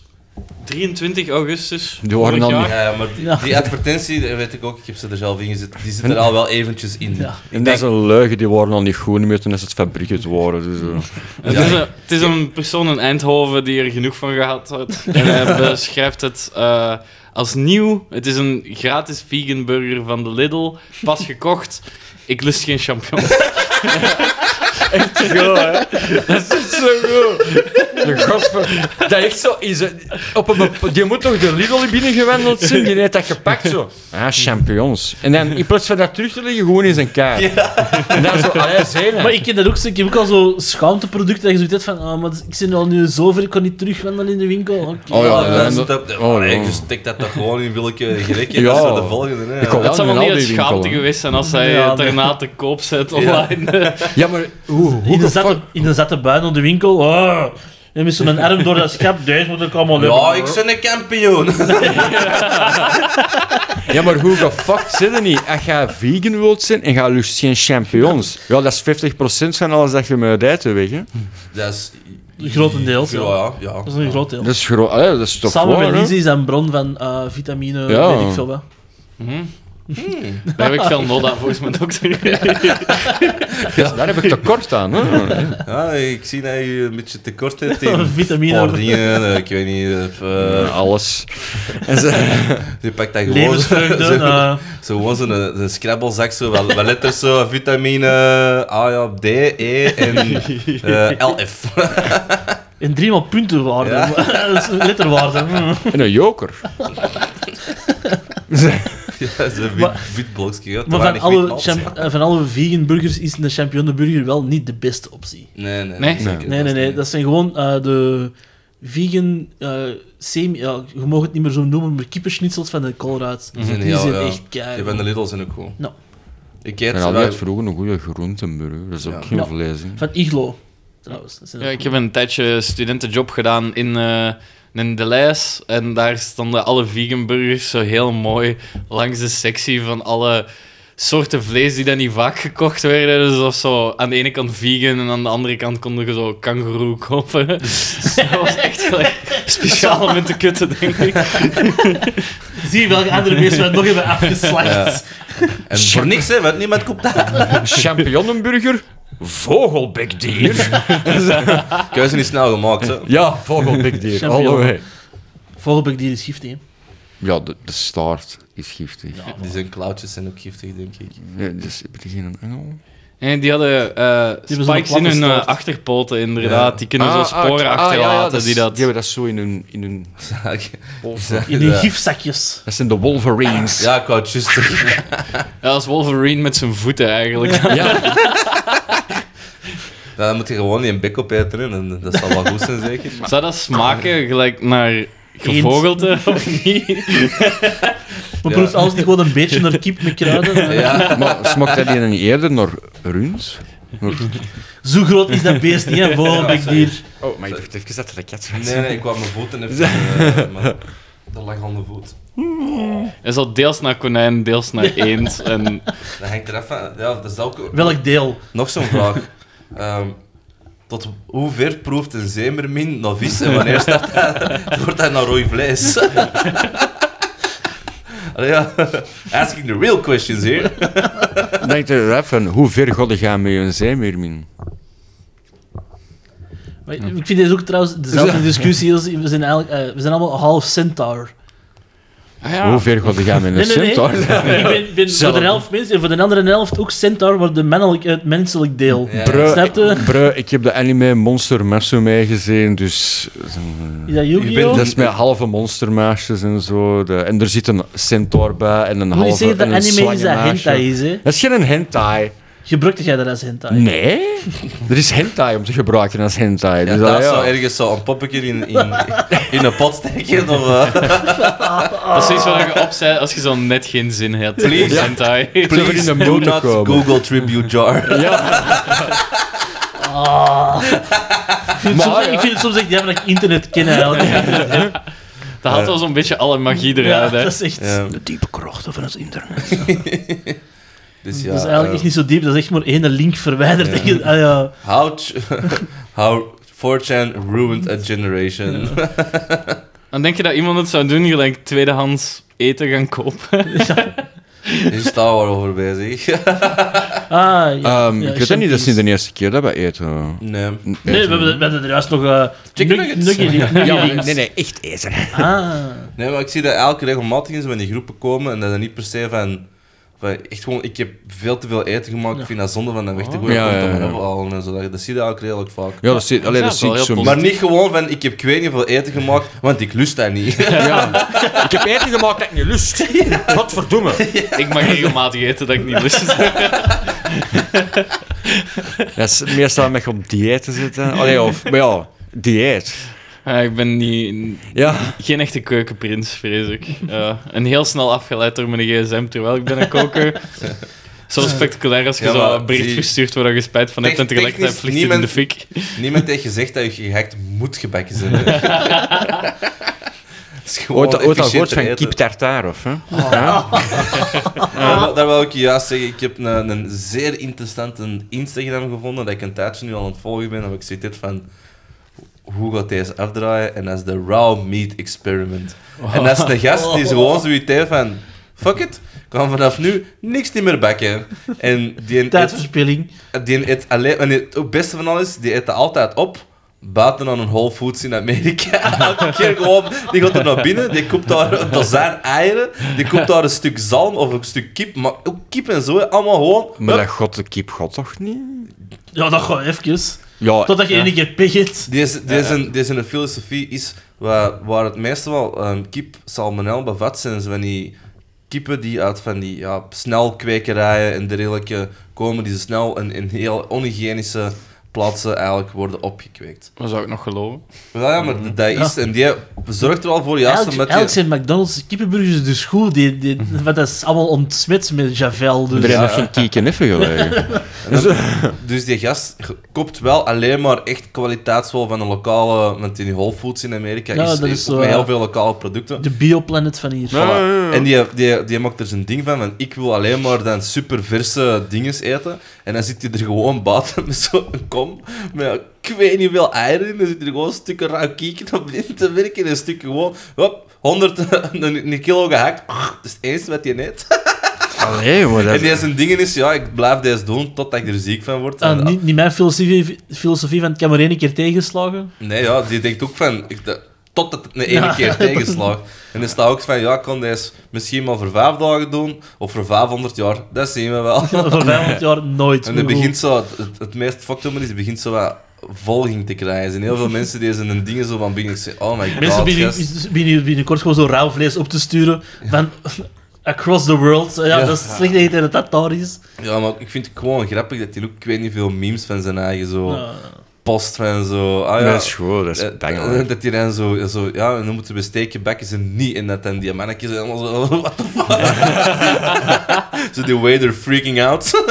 C: 23 augustus.
E: Die waren
C: vorig
E: dan
C: jaar.
B: Ja, ja, maar die,
D: Ja.
B: die advertentie, dat weet ik ook, ik heb ze er zelf in gezet, die zit er al wel eventjes in.
D: Ja.
E: En dat is een leugen, die waren al niet goed meer toen ze het fabriek het waren. Dus, eh.
C: Het, is een, het is een persoon in Eindhoven die er genoeg van gehad
E: <laughs>
C: had. En hij beschrijft het eh, als nieuw. Het is een gratis vegan burger van de Lidl. Pas gekocht. Ik lust geen champignons.
E: De godver- Dat echt zo is. eh, Op een, bep- die moet toch de Lidl binnengewandeld zijn? Die heeft dat gepakt zo. Ah, champignons. En dan in plaats van dat terug te leggen, gewoon in zijn kaart. En dan zo, ah, allee, zenuw.
D: Maar ik ken dat ook. zo. Ik heb ook al zo schaamteproducten dat je zoiets hebt van... ah, maar ik zit al nu zo ver, ik kan niet terugwandelen in de winkel. Oké.
E: Oh ja,
B: Ah, Ja,
E: dat-
B: dat is het-
E: oh,
B: maar
E: ja.
B: je steekt dat toch gewoon in
D: <laughs>
B: willekeurig rekje,
E: Ja.
B: dat is voor de volgende. Hè,
E: Ik hoop-
C: Dat zou
E: in
C: wel
E: al
C: niet
E: die
C: het schaamte
E: winkelen.
C: geweest zijn als hij
D: Ja,
C: het
D: nee.
C: daarna te koop zet
D: <laughs>
C: online.
E: Ja, maar hoe, hoe
D: In de,
E: de fuck-
D: zatte, in de zatte buin op de winkel. Oh. En met zo'n arm door dat schap. Deze moet ik allemaal hebben.
B: Ja, ik ben een kampioen. <laughs>
E: Ja, maar hoe gefucked zit er niet? Als jij vegan wilt zijn en je lust geen champignons. Ja, dat is 50% van alles dat je met uit de weg. Hè.
B: Dat is...
D: Grotendeels,
B: Ja,
D: ja.
B: ja. ja.
D: Dat is een groot deel.
E: Dat is, gro- allee, dat is toch
D: Samen
E: waar,
D: met
E: hè?
D: Lizzie is dat een bron van eh, vitamine,
E: Ja.
D: weet ik veel wat.
C: Mhm. Daar heb ik veel nood aan volgens mijn dokter.
D: <laughs>
E: Ja, Daar heb ik tekort aan. Hè.
D: <laughs>
B: Ja, Ah, ik zie dat je een beetje tekort hebt in
D: Vitamine.
B: een paar dingen. eh, Ik weet niet, eh,
E: Eh,
B: eh,
E: alles. En ze,
B: je pakt dat gewoon... <laughs>
E: <laughs>
D: Levensvreugde.
B: zo-
D: eh,
B: Zo gewoon zo'n een scrabblezak, zo, wat, wat letters zo, <laughs> vitamine A, ja, D, E
D: <laughs>
B: en eh, LF.
D: en driemaal puntenwaarde.
B: Ja.
D: <laughs> Dat is
E: <laughs>
D: Letterwaarde. Mm.
E: en een joker.
B: <laughs> ja, zo'n wit,
D: Maar-
B: wit blokje. ja, te
D: Maar van
B: weinig
D: alle,
B: witmalt.
D: champ- eh, van alle vegan burgers is de champignonburger wel niet de beste optie.
B: Nee, nee.
C: Nee?
B: zeker.
D: Nee, nee, nee. Dat zijn gewoon eh, de vegan eh, semi... Ja, je mag het niet meer zo noemen, maar kippenschnitzels van de Colruyt.
B: Die zijn
D: Die
B: heel,
D: zijn
B: ja.
D: echt
B: Die van de
D: keihard.
B: Lidl zijn ook cool.
D: Nou.
B: Ik eet
E: En
B: ze
E: al die had
B: wel.
E: vroeger een goede groentenburger. Dat is ook
B: Ja.
E: geen
D: Ja.
E: vlees. hè.
D: Van Iglo, trouwens. Dat zijn
C: Ja, ik heb een tijdje studentenjob gedaan in, eh in De Leis. En daar stonden alle vegan burgers zo heel mooi langs de sectie van alle soorten vlees die dan niet vaak gekocht werden. Dus of zo aan de ene kant vegan en aan de andere kant konden je zo kangeroe <laughs> kopen. Dus dat was echt wel speciaal om in te kutten, denk ik.
D: Zie je welke andere beesten we nog hebben afgeslacht. <laughs>
B: Ja. En voor niks, hè, want niemand koopt dat.
E: Champignonenburger? Vogelbekdier?
B: Keuze is snel gemaakt, hè.
E: <laughs> Ja, vogelbekdier.
D: Champignon.
E: Hallo, hey.
D: Vogelbek die is giftig, hè.
E: Ja, de, de staart is giftig. Ja.
B: Die zijn klauwtjes zijn ook giftig, denk ik. <laughs>
E: dus heb je geen engel?
C: En die hadden eh,
D: zo'n
C: spikes in
D: platte
C: hun eh,
D: staart.
C: achterpoten, inderdaad.
B: Ja.
C: Die kunnen zo sporen
E: ah,
C: achterlaten.
E: ja, ja, dat is-
C: die dat...
E: Die hebben dat zo in hun... In hun
D: In die
B: Ja.
D: gifzakjes.
E: dat zijn de Wolverines.
B: Ja, ik wou het juist zeggen.
C: Ja, dat is Wolverine met zijn voeten eigenlijk.
E: Ja.
B: Dan moet je gewoon die bek opeten, hè, en dat zal wel goed zijn, zeker.
D: <laughs>
C: Zou dat smaken gelijk naar gevogelte of niet?
D: Maar
B: Ja.
D: proeft alles niet gewoon een beetje naar kip met kruiden?
B: Ja,
E: Maar smaakt dat die dan niet eerder naar runs?
D: Zo groot is dat beest niet, hè, Vogelbekdier.
E: Oh, maar ik dacht even dat het een kat was.
B: nee, nee, ik kwam mijn voeten even... eh, maar- de langhanden voet.
C: Hij <laughs> is al deels naar konijn, deels naar eend. En
B: Dat hangt er even... Ja, dat is ook...
D: Welk deel?
B: Nog zo'n vraag. Ehm, tot hoe ver proeft een zeemermin naar vis en wanneer start hij, wordt hij naar rooi vlees? Allee, ja. Asking the real questions here.
E: Denk er even, hoe ver god gaan met een zeemeermin?
D: Maar ik- Ik vind deze ook trouwens dezelfde discussie als... We zijn, eigenlijk, eh, we zijn allemaal half centaur.
C: Ah ja,
E: Hoe ver god gaan met een centaur?
D: <laughs> ik ben, ben voor de helft mens en voor de andere helft ook centaur, maar de mannelijk, het menselijk deel.
B: Ja.
E: Bruh,
D: Snap je?
E: bruh, ik heb de anime Monster Masume gezien, dus
D: Oh. Is dat
B: Ik ben
D: Yu-Gi-Oh?
E: dat is met halve monstermeisjes en zo. De, en er zit een centaur bij en een
D: Moet je
E: halve
D: zeggen dat
E: en een
D: anime is dat
E: slangenmeisje.
D: hentai is, hè?
E: Dat is geen hentai.
D: Gebruikte jij dat als hentai?
E: Nee, er is hentai om te gebruiken als hentai.
B: Ja,
E: dus
B: daar
E: dat, ja.
B: zou ergens zo een poppetje in, in, in een pot steken of... eh,
C: dat is iets waar je op zei als je zo net geen zin had.
B: Please.
C: Hentai.
E: Zo
B: please
E: in de
B: do
E: motor
B: not
E: komen.
B: Google tribute jar.
E: Ja, <laughs>
D: Ah. Ik vind, het
E: Maar,
D: soms,
E: ja.
D: ik vind het soms echt jammer dat ik internet
E: <laughs>
D: ken eigenlijk.
C: Dat had wel zo'n beetje alle magie
D: Ja,
C: eruit. hè.
D: dat is echt...
B: Ja,
D: De diepe krochten van het internet.
B: dus ja,
D: dat is eigenlijk
B: eh,
D: echt niet zo diep, dat is echt maar één link verwijderd.
B: Ja.
D: <laughs> Ah, ja.
B: How, ch- <laughs> how 4chan ruined a generation.
C: Dan denk je dat iemand het zou doen, gelijk tweedehands eten gaan
B: <laughs>
C: kopen.
B: <laughs> Is Star Wars over bezig?
D: Ah, ja.
E: Ehm,
D: Ja,
E: ik weet dat niet, dat is niet
D: champions.
E: de eerste keer dat we eten.
B: <laughs> Nee.
D: Nee, we hebben, we hebben er juist nog... eh
B: Chicken
D: nug-
B: nuggets.
E: <laughs>
D: nugget- nugget links.
E: nee, echt eten.
D: Ah.
B: Nee, maar ik zie dat elke regelmatig in zo in die groepen komen en dat is niet per se van, van echt gewoon, ik heb veel te veel eten gemaakt, ik vind dat zonde van dat weg te gooien,
E: Ja,
B: komt
E: ja,
B: om
E: ja.
B: erop te halen en zo. Dat, dat zie je eigenlijk redelijk vaak.
E: Ja, dat zit, alleen
C: Ja,
E: dat zie
C: wel
E: ik
C: heel
E: soms.
B: Maar niet gewoon van, ik heb ik weet niet veel eten gemaakt, want ik lust dat niet.
E: Ja. Ik heb eten gemaakt dat ik niet <laughs> lust. Wat verdomme.
C: Ik mag regelmatig eten dat ik niet lust heb.
E: Dat is meestal met op dieet te zitten. Allee, of, maar ja, dieet.
C: Ja, ik ben niet,
E: Ja,
C: geen echte keukenprins, vrees ik. Eh, en heel snel afgeleid door mijn gsm terwijl ik ben een
B: <laughs>
C: koker. Zo spectaculair als je
B: Ja,
C: zo
B: maar
C: een bericht
B: zie-
C: verstuurt waar je spijt van hebt en
B: Tech-
C: tegelijkertijd
B: technisch
C: vliegt het in de
B: niemand-
C: fik.
B: Niemand heeft gezegd dat je gehackt moet gebakken zijn. Het is gewoon
E: ooit, ooit al
B: efficiënter
E: gehoord van
B: eten.
E: kip tartaar of... Hè? Ja.
B: Daar wou- Daar wil ik je juist zeggen, ik heb een, een zeer interessante Instagram gevonden dat ik een tijdje nu al aan het volgen ben. En ik zit dit van, hoe gaat deze afdraaien? En dat is de Raw Meat Experiment. En dat is een gast die is gewoon zoiets heeft van, fuck it, ik kan vanaf nu niks niet meer bakken. En die eet,
D: Tijdverspilling.
B: die eet alleen, en het, het beste van alles, die eet dat altijd op. Buiten aan een Whole Foods in Amerika. <laughs> Elke keer gewoon, die gaat er naar binnen, die koopt daar een dozijn eieren, die koopt daar een stuk zalm of een stuk kip, maar ook kip en zo, hè. allemaal gewoon.
E: Maar
B: hup.
E: dat god de kip god toch niet?
D: Ja, dat gaat even.
E: Ja,
D: Totdat je één keer pech hebt.
B: Deze, deze, deze een filosofie is waar, waar het meestal wel ehm, kip salmonel bevat zijn. Zo van die kippen die uit van die ja, snelkwekerijen en dergelijke komen, die zo snel en in heel onhygiënische plaatsen eigenlijk worden opgekweekt.
C: Dat zou ik nog geloven.
B: Ja, ja,
D: Mhm.
B: maar dat is... En die zorgt er wel voor, juist
D: Elk,
B: omdat
D: elk
B: je...
D: zijn McDonald's kippenburgers dus goed, die, <laughs> die, want dat is allemaal ontsmet met Javel. Dus.
E: Iedereen
B: Ja,
E: heeft
B: ja.
E: geen kieken even gelegen.
B: Dus die gast koopt wel alleen maar echt kwaliteitsvol van een lokale... Want in die Whole Foods in Amerika
D: Ja,
B: is,
D: dat
B: is,
D: is eh,
B: ook
D: zo,
B: met
D: ja.
B: heel veel lokale producten.
D: De bioplanet van hier.
E: Ja, ja, ja.
B: En die, die, die maakt er zijn ding van, want ik wil alleen maar dan super verse dinges eten. En dan zit hij er gewoon buiten <laughs> met zo'n kom, met ik weet niet hoeveel eieren in. Dan zit er gewoon stukken rauw kieken op in te werken. En een stuk gewoon, hop, 100, <laughs> een, een kilo gehakt. Dat is het eerste wat je eet.
E: <laughs> Allee, maar
B: En die
E: dat...
B: zijn dingen is, ja, ik blijf deze doen totdat ik er ziek van word.
D: Ah,
B: En-
D: niet, niet mijn filosofie, filosofie van het kan maar één keer
E: <laughs>
D: tegenslagen.
B: Nee, ja, die denkt ook van... Ik, dat, tot het de ene
D: Ja. <laughs>
B: keer tegenslaagt. En dan staat ook van, ja, ik kan deze misschien maar voor vijf dagen doen, of voor 500 jaar, dat zien we
D: <laughs>
B: wel.
D: Voor 500 jaar nooit.
B: En het
D: meer goed.
B: begint zo, het, het meest fucked up is, het begint zo wat volging te krijgen. Er zijn heel veel mensen die zijn hun dingen zo van binnen zeggen, oh my god,
D: Mensen beginnen
B: gast.
D: binnen, binnenkort gewoon zo rauw vlees op te sturen van <laughs> across the world. Ja,
B: Ja.
D: dat is slecht dat je tegen dat dat daar is.
B: Ja, maar ik vind het gewoon grappig dat hij ook, ik weet niet veel memes van zijn eigen zo,
D: Ja.
B: post van zo, ah ja.
E: Dat is goed, dat is
B: Eh,
E: bangelijk.
B: eh, Dat die dan zo, zo ja, en dan moeten we steken bekken ze niet in dat en die mannetjes helemaal <laughs> zo, what the fuck? Zo die waiter freaking out.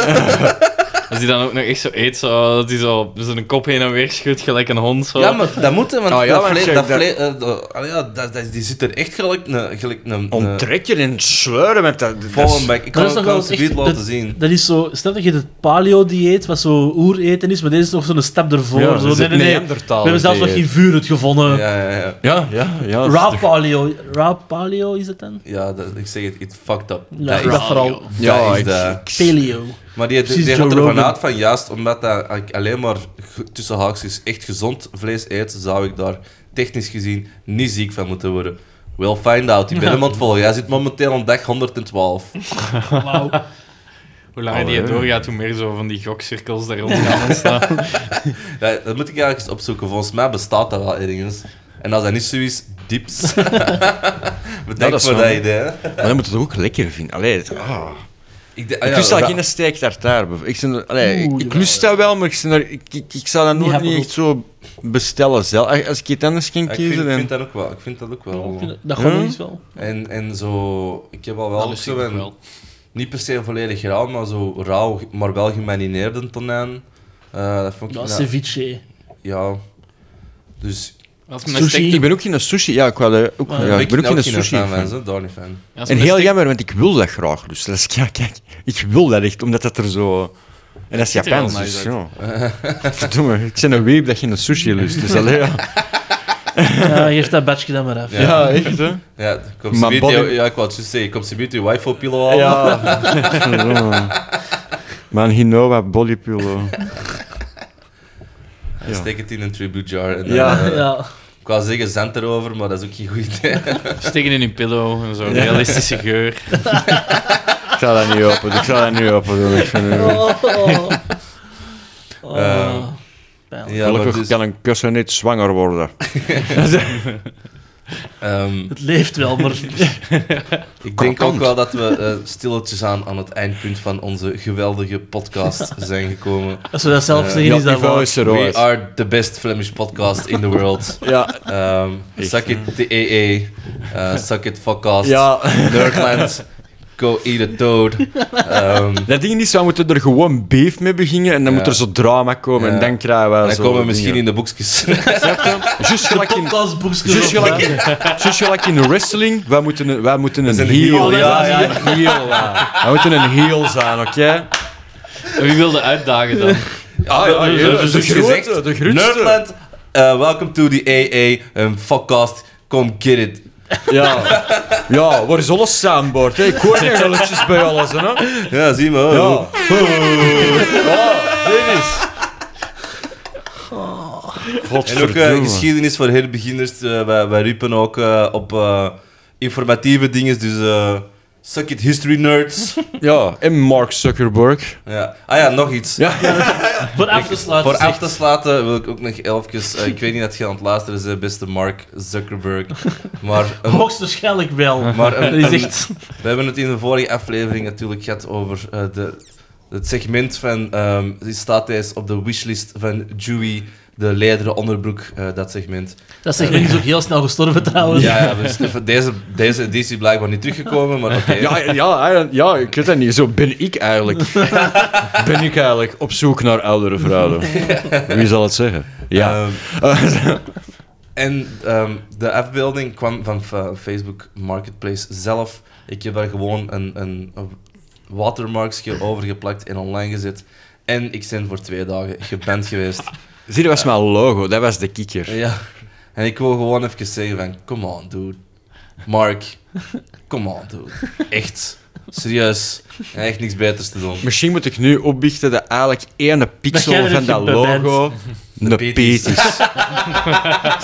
C: Als die dan ook nog echt zo eet, zo, dat hij zo zijn kop heen en weer schudt, gelijk een hond. Zo.
B: Ja, maar dat moet, hè, want
E: Ah, ja,
B: dat
E: want
B: vlees-
E: check
B: dat
E: dat-
B: vlees- eh, dat- ah, ja, dat- dat- die zit er echt gelijk een... Gelijk een
E: Onttrekken en zweuren met dat. dat is-
B: Fallen back. Ik kan
D: is
B: het
D: toch
B: wel
D: wel
B: eens
D: echt-
B: laten
D: dat-
B: zien.
D: Dat is zo, stel dat je het paleo-dieet, wat zo oereten is, maar deze is nog zo'n stap ervoor.
E: Ja,
D: zo.
E: dat is
D: Nee,
E: het
D: nee, nee. We
E: Neandertaler
D: hebben zelfs nog
E: dieet.
D: geen vuur het gevonden.
B: Ja, ja, ja.
E: Ja, ja, ja. dat is
D: Raw
E: toch-
D: paleo. Raw paleo is het dan?
B: Ja, dat, ik zeg het, it fucked up.
D: Ja, dat vooral.
E: Ja,
B: dat is
E: ik-
B: dat.
D: Paleo.
B: Maar die, die,
D: Precies,
B: die
D: Joe
B: gaat ervan
D: Rogan.
B: uit van juist omdat dat ik alleen maar g- tussen haakjes echt gezond vlees eet, zou ik daar technisch gezien niet ziek van moeten worden. We'll find out. Ik ben hem aan het volgen. Hij zit momenteel op dag 112.
D: Wauw.
C: Hoe langer die het doorgaat, hoe meer zo van die gokcirkels daar rond gaan ontstaan.
B: Ja, dat moet ik eigenlijk eens opzoeken. Volgens mij bestaat dat wel ergens. En als dat niet zo is, dips. <laughs>
E: Ja,
B: Bedankt
E: dat is
B: voor
E: wel-
B: dat idee. hè.
E: Maar dan moet het ook lekker vinden. Allee, dat- ah.
B: Ik, de- ah,
E: Ik
B: ja,
E: lust daar
B: ra-
E: geen steak tartaar. bijv- Ik, zijn, er- allee,
D: Oeh,
E: ik, ik lust dat wel, maar ik, zijn er- ik, ik, ik zou dat
D: Niet
E: nooit niet
D: happig.
E: echt zo bestellen zelf. Als ik het anders ging
B: Ja, ik, vind,
E: kiezen...
B: ik vind
E: dan-
B: dat ook wel. Ik vind dat ook wel.
D: <laughs> Dat gewoon
E: Ja?
D: is wel.
B: En, en zo, ik heb al wel,
C: Dat
B: ook
C: lust
B: zo
C: ik ook
B: een-
C: wel.
B: niet per se volledig rauw, maar zo rauw, maar wel gemarineerde tonijn. Eh dat vond ik
D: Dat is
B: nou-
D: ceviche.
B: ja. Dus
C: Als men een
D: Sushi.
C: steak,
E: Ik ben ook geen sushi... Ja, ik, wou dat ook,
D: Maar-
E: ja, ik ben ook
B: nou
E: geen sushi
B: fan
E: fan.
B: van, zo, daar niet fan.
C: als dus
E: En
C: men een
E: heel
C: steak-
E: jammer, want ik wil dat graag. Dus dat is, ja, <laughs> kijk, ik wil dat echt, omdat dat er zo... En dat is
C: Ziet er
E: Japans,
C: wel
E: dus
C: nice
E: ja. Verdomme, ik ben een weep dat je een sushi lust. Dus allee, ja.
D: Ja, geef dat badje dan maar af.
B: Ja.
E: ja, echt, hè.
B: Ja, kom
E: Maar
B: ze
E: Bobby-
B: ja, ik wou het juist zeggen, kom ze biedt je wifi pillow halen.
E: Ja. Man, Hinoa Bodypillow.
B: En steek het in een tribute jar. En,
E: Ja.
B: eh,
D: Ja.
B: Ik wou zeggen, zend erover, maar dat is ook geen goed idee.
C: steken in hun pillow en zo, realistische geur.
E: Ik zal dat niet open doen, ik zal dat niet open doen. Ik vind het-
B: <laughs>
D: Oh. Oh.
B: Eh,
D: Pijnlijk.
B: Ja, maar
E: Gelukkig
B: dus,
E: kan een kussen niet zwanger worden.
B: ehm,
D: Het leeft wel,
B: <laughs>
D: maar
B: ik denk ook
E: Krokant.
B: wel dat we eh, stilletjes aan aan het eindpunt van onze geweldige
E: <laughs>
B: podcast zijn gekomen.
D: als we dat zelf
B: Eh,
D: zeggen,
E: Ja,
D: is dat
E: niveau
D: wel.
E: is er
B: We
E: ooit.
B: are the best Flemish podcast in the world.
E: Ja,
B: Um,
E: Echt,
B: suck it, the AA. Uh, suck it, fuckcast.
E: ja.
B: Nerdland. Go eat a toad. Ehm,
E: Dat ding is, we moeten er gewoon beef mee beginnen en dan
B: Ja.
E: moet er zo drama komen
B: Ja.
E: en dan krijgen we
B: dan
E: zo
B: komen we misschien
E: dingen.
B: in de boekjes. <laughs>
E: Snap je? Juist gelijk in...
D: Podcastboekjes
E: Juist
D: of-
E: gelijk in, juist gelijk in wrestling, wij moeten een, wij moeten een
B: zijn
E: heel...
B: heel, ja,
E: ja, een heel, ja. Wij moeten een heel zijn, oké?
C: En wie wilde uitdagen dan?
E: Ah, ja, ja,
B: Dus
E: de grote, de grootste.
B: Nerdland, uh, welcome to the AA. Um, fuckcast, come get it.
E: Ja. ja, waar is alles soundboard? Hè? Ik hoor niet relletjes bij alles, hè?
B: Ja, zie maar.
E: Ja. Ja, dit is. Oh.
B: En ook eh, geschiedenis voor heel beginners. eh, wij, wij riepen ook eh, op eh, informatieve dingen. Dus eh, suck it, history nerds.
E: <laughs> Ja, en Mark Zuckerberg.
B: ja. Ah ja, nog iets.
D: Voor af te sluiten.
B: Voor
D: zeg.
B: af te sluiten wil ik ook nog elfjes. eh, ik weet niet dat je aan het luisteren bent, eh, beste Mark Zuckerberg. Maar, een-
D: Hoogstwaarschijnlijk wel.
B: maar
D: Dat
B: een-
D: is
B: een-
D: echt...
B: we hebben het in de vorige aflevering natuurlijk gehad over eh, de, het segment van. ehm, die staat eens op de wishlist van Dewey, de lederen onderbroek, eh, dat segment.
D: Dat segment is ook heel snel gestorven trouwens.
B: Ja, ja dus <laughs> deze, deze editie blijkbaar niet teruggekomen, maar oké.
E: Ja, ja, ja, ja, ik weet dat niet. Zo ben ik eigenlijk. <laughs> Ben ik eigenlijk op zoek naar oudere vrouwen. Wie zal het zeggen? Ja.
B: Ehm, <laughs> en ehm, de afbeelding kwam van fa- Facebook Marketplace zelf. Ik heb daar gewoon een, een watermarksje over geplakt en online gezet. En ik ben voor twee dagen geband
E: <laughs>
B: geweest.
E: Zie, dat was mijn logo. Dat was de kikker.
B: Ja. En ik wil gewoon even zeggen van, come on dude. Mark, come on dude. Echt. Serieus. En echt niks beters te doen.
E: Misschien moet ik nu opbiechten dat eigenlijk één
D: jij
E: pixel
D: er
E: van dat
D: niet bij
E: <laughs> logo een
B: peet is.
E: peet is.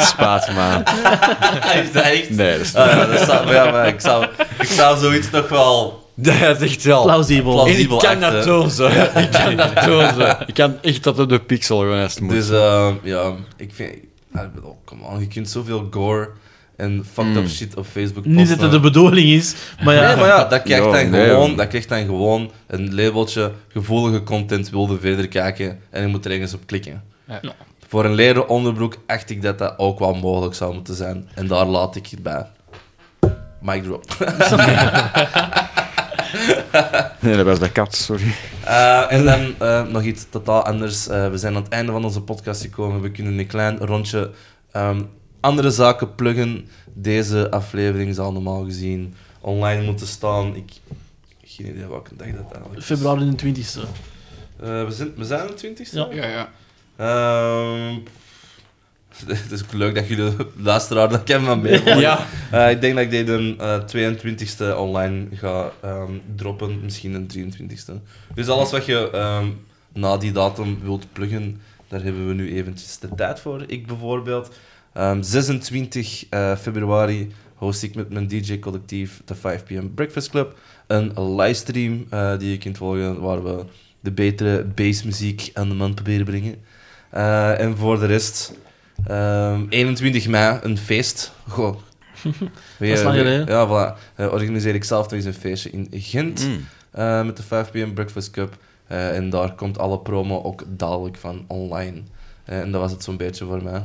E: Spaat maar.
B: <laughs> Is dat echt?
E: Nee, dat is niet.
B: Ah, ja, dat zou, ja, maar ik zou, ik zou zoiets toch wel...
E: Dat is echt wel.
D: Plausibel.
B: Plaus-
E: En ik
B: plausibel
E: kan
B: act,
E: dat
B: hè.
E: doen, zo. eh, <laughs> Ik kan dat doen, zo. Ik kan echt dat op de pixel gewoon als het moet.
B: Dus eh, ja, ik vind. ah, ik bedoel, Come on, je kunt zoveel gore en fucked up shit op Facebook posten.
D: Niet dat het de bedoeling is, maar ja.
B: Nee, maar ja, dat krijgt,
E: Ja,
B: dan
E: nee,
B: gewoon,
E: hoor.
B: dat krijgt dan gewoon een labeltje gevoelige content wilde verder kijken en je moet er ergens op klikken.
C: Ja.
B: Voor een leren onderbroek acht ik dat dat ook wel mogelijk zou moeten zijn. En daar laat ik het bij. Mic drop.
E: Nee, dat was de kat, sorry.
B: Eh, en dan eh, nog iets totaal anders. Eh, we zijn aan het einde van onze podcast gekomen. We kunnen een klein rondje ehm, andere zaken pluggen. Deze aflevering zal normaal gezien online moeten staan. Ik geen idee welke dag dat eigenlijk is.
D: Februari de 20ste.
B: Eh, we, zijn, we zijn aan de 20ste?
D: Ja.
C: Ja, ja.
B: Ehm, <laughs> het is ook leuk dat jullie <laughs> de luisteraar dat kennen van mij.
E: Ja.
B: Eh, ik denk dat ik deze de 22e online ga ehm, droppen, misschien een 23e. Dus alles wat je ehm, na die datum wilt pluggen, daar hebben we nu eventjes de tijd voor. Ik bijvoorbeeld. ehm, 26 eh, februari host ik met mijn DJ-collectief de 5 p.m. Breakfast Club een livestream eh, die je kunt volgen waar we de betere bassmuziek aan de man proberen brengen. Eh, en voor de rest, ehm, 21 mei, een feest.
D: <laughs>
B: Goh. Weer-
D: lang
B: weer-
D: geleden.
B: Ja, voilà. Eh, organiseer ik zelf nog eens een feestje in Gent
E: Mm.
B: eh, met de 5 p.m. Breakfast Cup. Eh, en daar komt alle promo ook dadelijk van online. Eh, en dat was het zo'n beetje voor mij.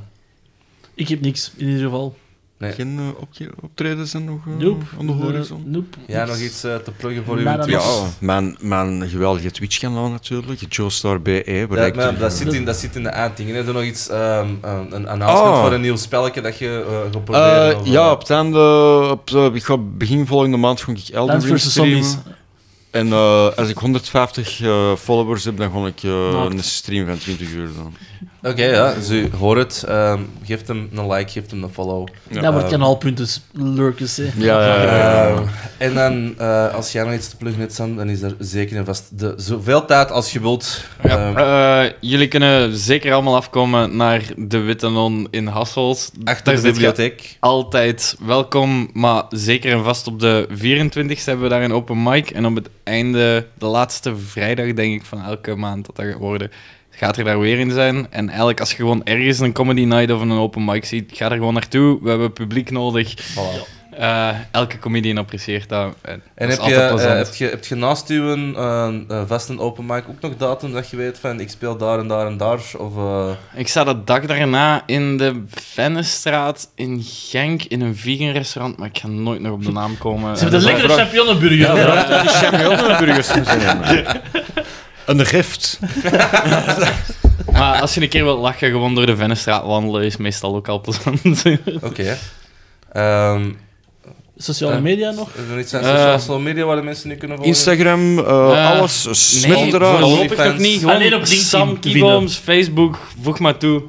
D: Ik heb niks, in ieder geval.
B: Nee.
E: Geen eh, opke- optredens en nog eh,
D: Nope.
E: aan de horizon?
D: Eh, nope.
B: Ja,
D: Niks.
B: nog iets eh, te pluggen voor u.
D: Nada,
B: Ja,
D: nada.
E: Ja, mijn, mijn geweldige Twitch-kanaal natuurlijk. Joestar BE. E, Waar
B: ja,
E: ik eh,
B: maar
E: er-
B: dat, zit in, dat zit in de aandingen. Doe nog iets, ehm, ehm, een announcement
E: Oh.
B: voor een nieuw spelletje dat je eh gaat
E: Eh,
B: proberen. of,
E: ja,
B: eh,
E: op het einde, op, eh, ik ga begin volgende maand ga ik Elden
D: Plants
E: Ring
D: vs. Zombies.
E: streamen. En eh, als ik 150 eh, followers heb, dan ga ik eh,
D: Naakt.
E: een stream van 20 uur doen.
B: Oké, ja, dus u hoort het. Ehm, geef hem een like, geef hem een follow.
E: Ja.
D: Dat wordt
B: Eh,
D: kanaalpunten s- lurkers, hè.
E: Ja, ja, ja, ja.
B: Ehm, en dan, eh, als jij nog iets te pluggen hebt, Sam, dan is er zeker en vast de, zoveel tijd als je wilt.
C: Ja,
B: Ehm,
C: eh, jullie kunnen zeker allemaal afkomen naar de Witte Non in Hasselt.
B: achter de
C: zit je
B: bibliotheek.
C: altijd welkom, maar zeker en vast op de 24 hebben we daar een open mic. En op het einde, de laatste vrijdag denk ik van elke maand dat dat gaat worden, gaat er daar weer in zijn. En eigenlijk als je gewoon ergens een comedy night of een open mic ziet, ga er gewoon naartoe. We hebben publiek nodig.
B: Voilà.
C: Eh, elke comedian apprecieert dat. En,
B: En heb
C: dat is
B: je,
C: altijd
B: eh,
C: plezant.
B: heb, je, heb je naast uw eh, eh, vast een open mic ook nog datum dat je weet van ik speel daar en daar en daar? Of, eh,
C: Ik sta de dag daarna in de Vennestraat in Genk in een vegan restaurant, maar ik ga nooit nog op de naam komen.
D: Ze hebben de
C: Eh,
D: lekkere champignonnenburger.
E: Vraag dat die champignonburgers moeten nemen. Een gift.
C: Maar als je een keer wilt lachen, gewoon door de Vennestraat wandelen is meestal ook al plezant.
B: Oké. Ehm,
D: Sociale media nog?
B: Is er iets aan
C: Eh,
B: social media waar de mensen nu kunnen volgen?
E: Instagram, eh,
C: Eh,
E: alles. Smet
C: nee,
E: het eruit.
B: vooral-
C: voorlopig nog niet. Gewoon
D: Alleen op LinkedIn
C: Sam
D: te vinden.
C: Kieboms, Facebook, voeg maar toe.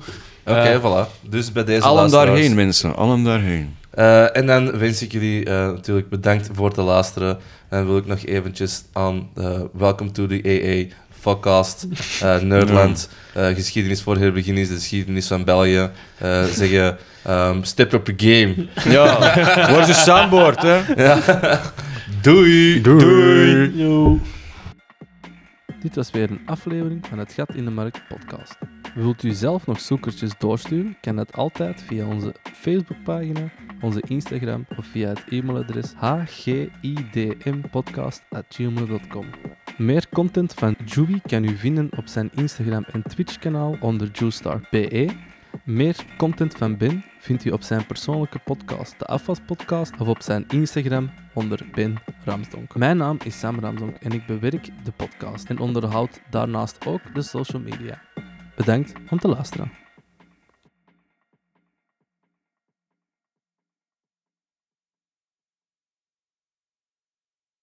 B: Oké,
C: Eh,
B: voilà. Dus bij deze
E: Allen
B: luisteraars.
E: daarheen, mensen. Allen daarheen.
B: Eh, en dan wens ik jullie eh, natuurlijk bedankt voor het luisteren. En wil ik nog eventjes aan eh, Welcome to the AA podcast
C: <laughs>
B: eh Nerdland, eh, geschiedenis voor herbeginners, de geschiedenis van België, eh, zeggen ehm, step up your game. <laughs>
E: Ja, word een soundboard, hè.
B: Doei!
E: Doei.
D: Yo.
F: Dit was weer een aflevering van het Gat in de Markt podcast. Wilt u zelf nog zoekertjes doorsturen? Kan dat altijd via onze Facebookpagina, onze Instagram of via het e-mailadres hgidmpodcast.gmail.com. Meer content van Juby kan u vinden op zijn Instagram en Twitch-kanaal onder JuStarPE. Meer content van Ben vindt u op zijn persoonlijke podcast, de Afwaspodcast, of op zijn Instagram onder Ben Ramsdonk. Mijn naam is Sam Ramsdonk en ik bewerk de podcast en onderhoud daarnaast ook de social media. Bedankt om te luisteren.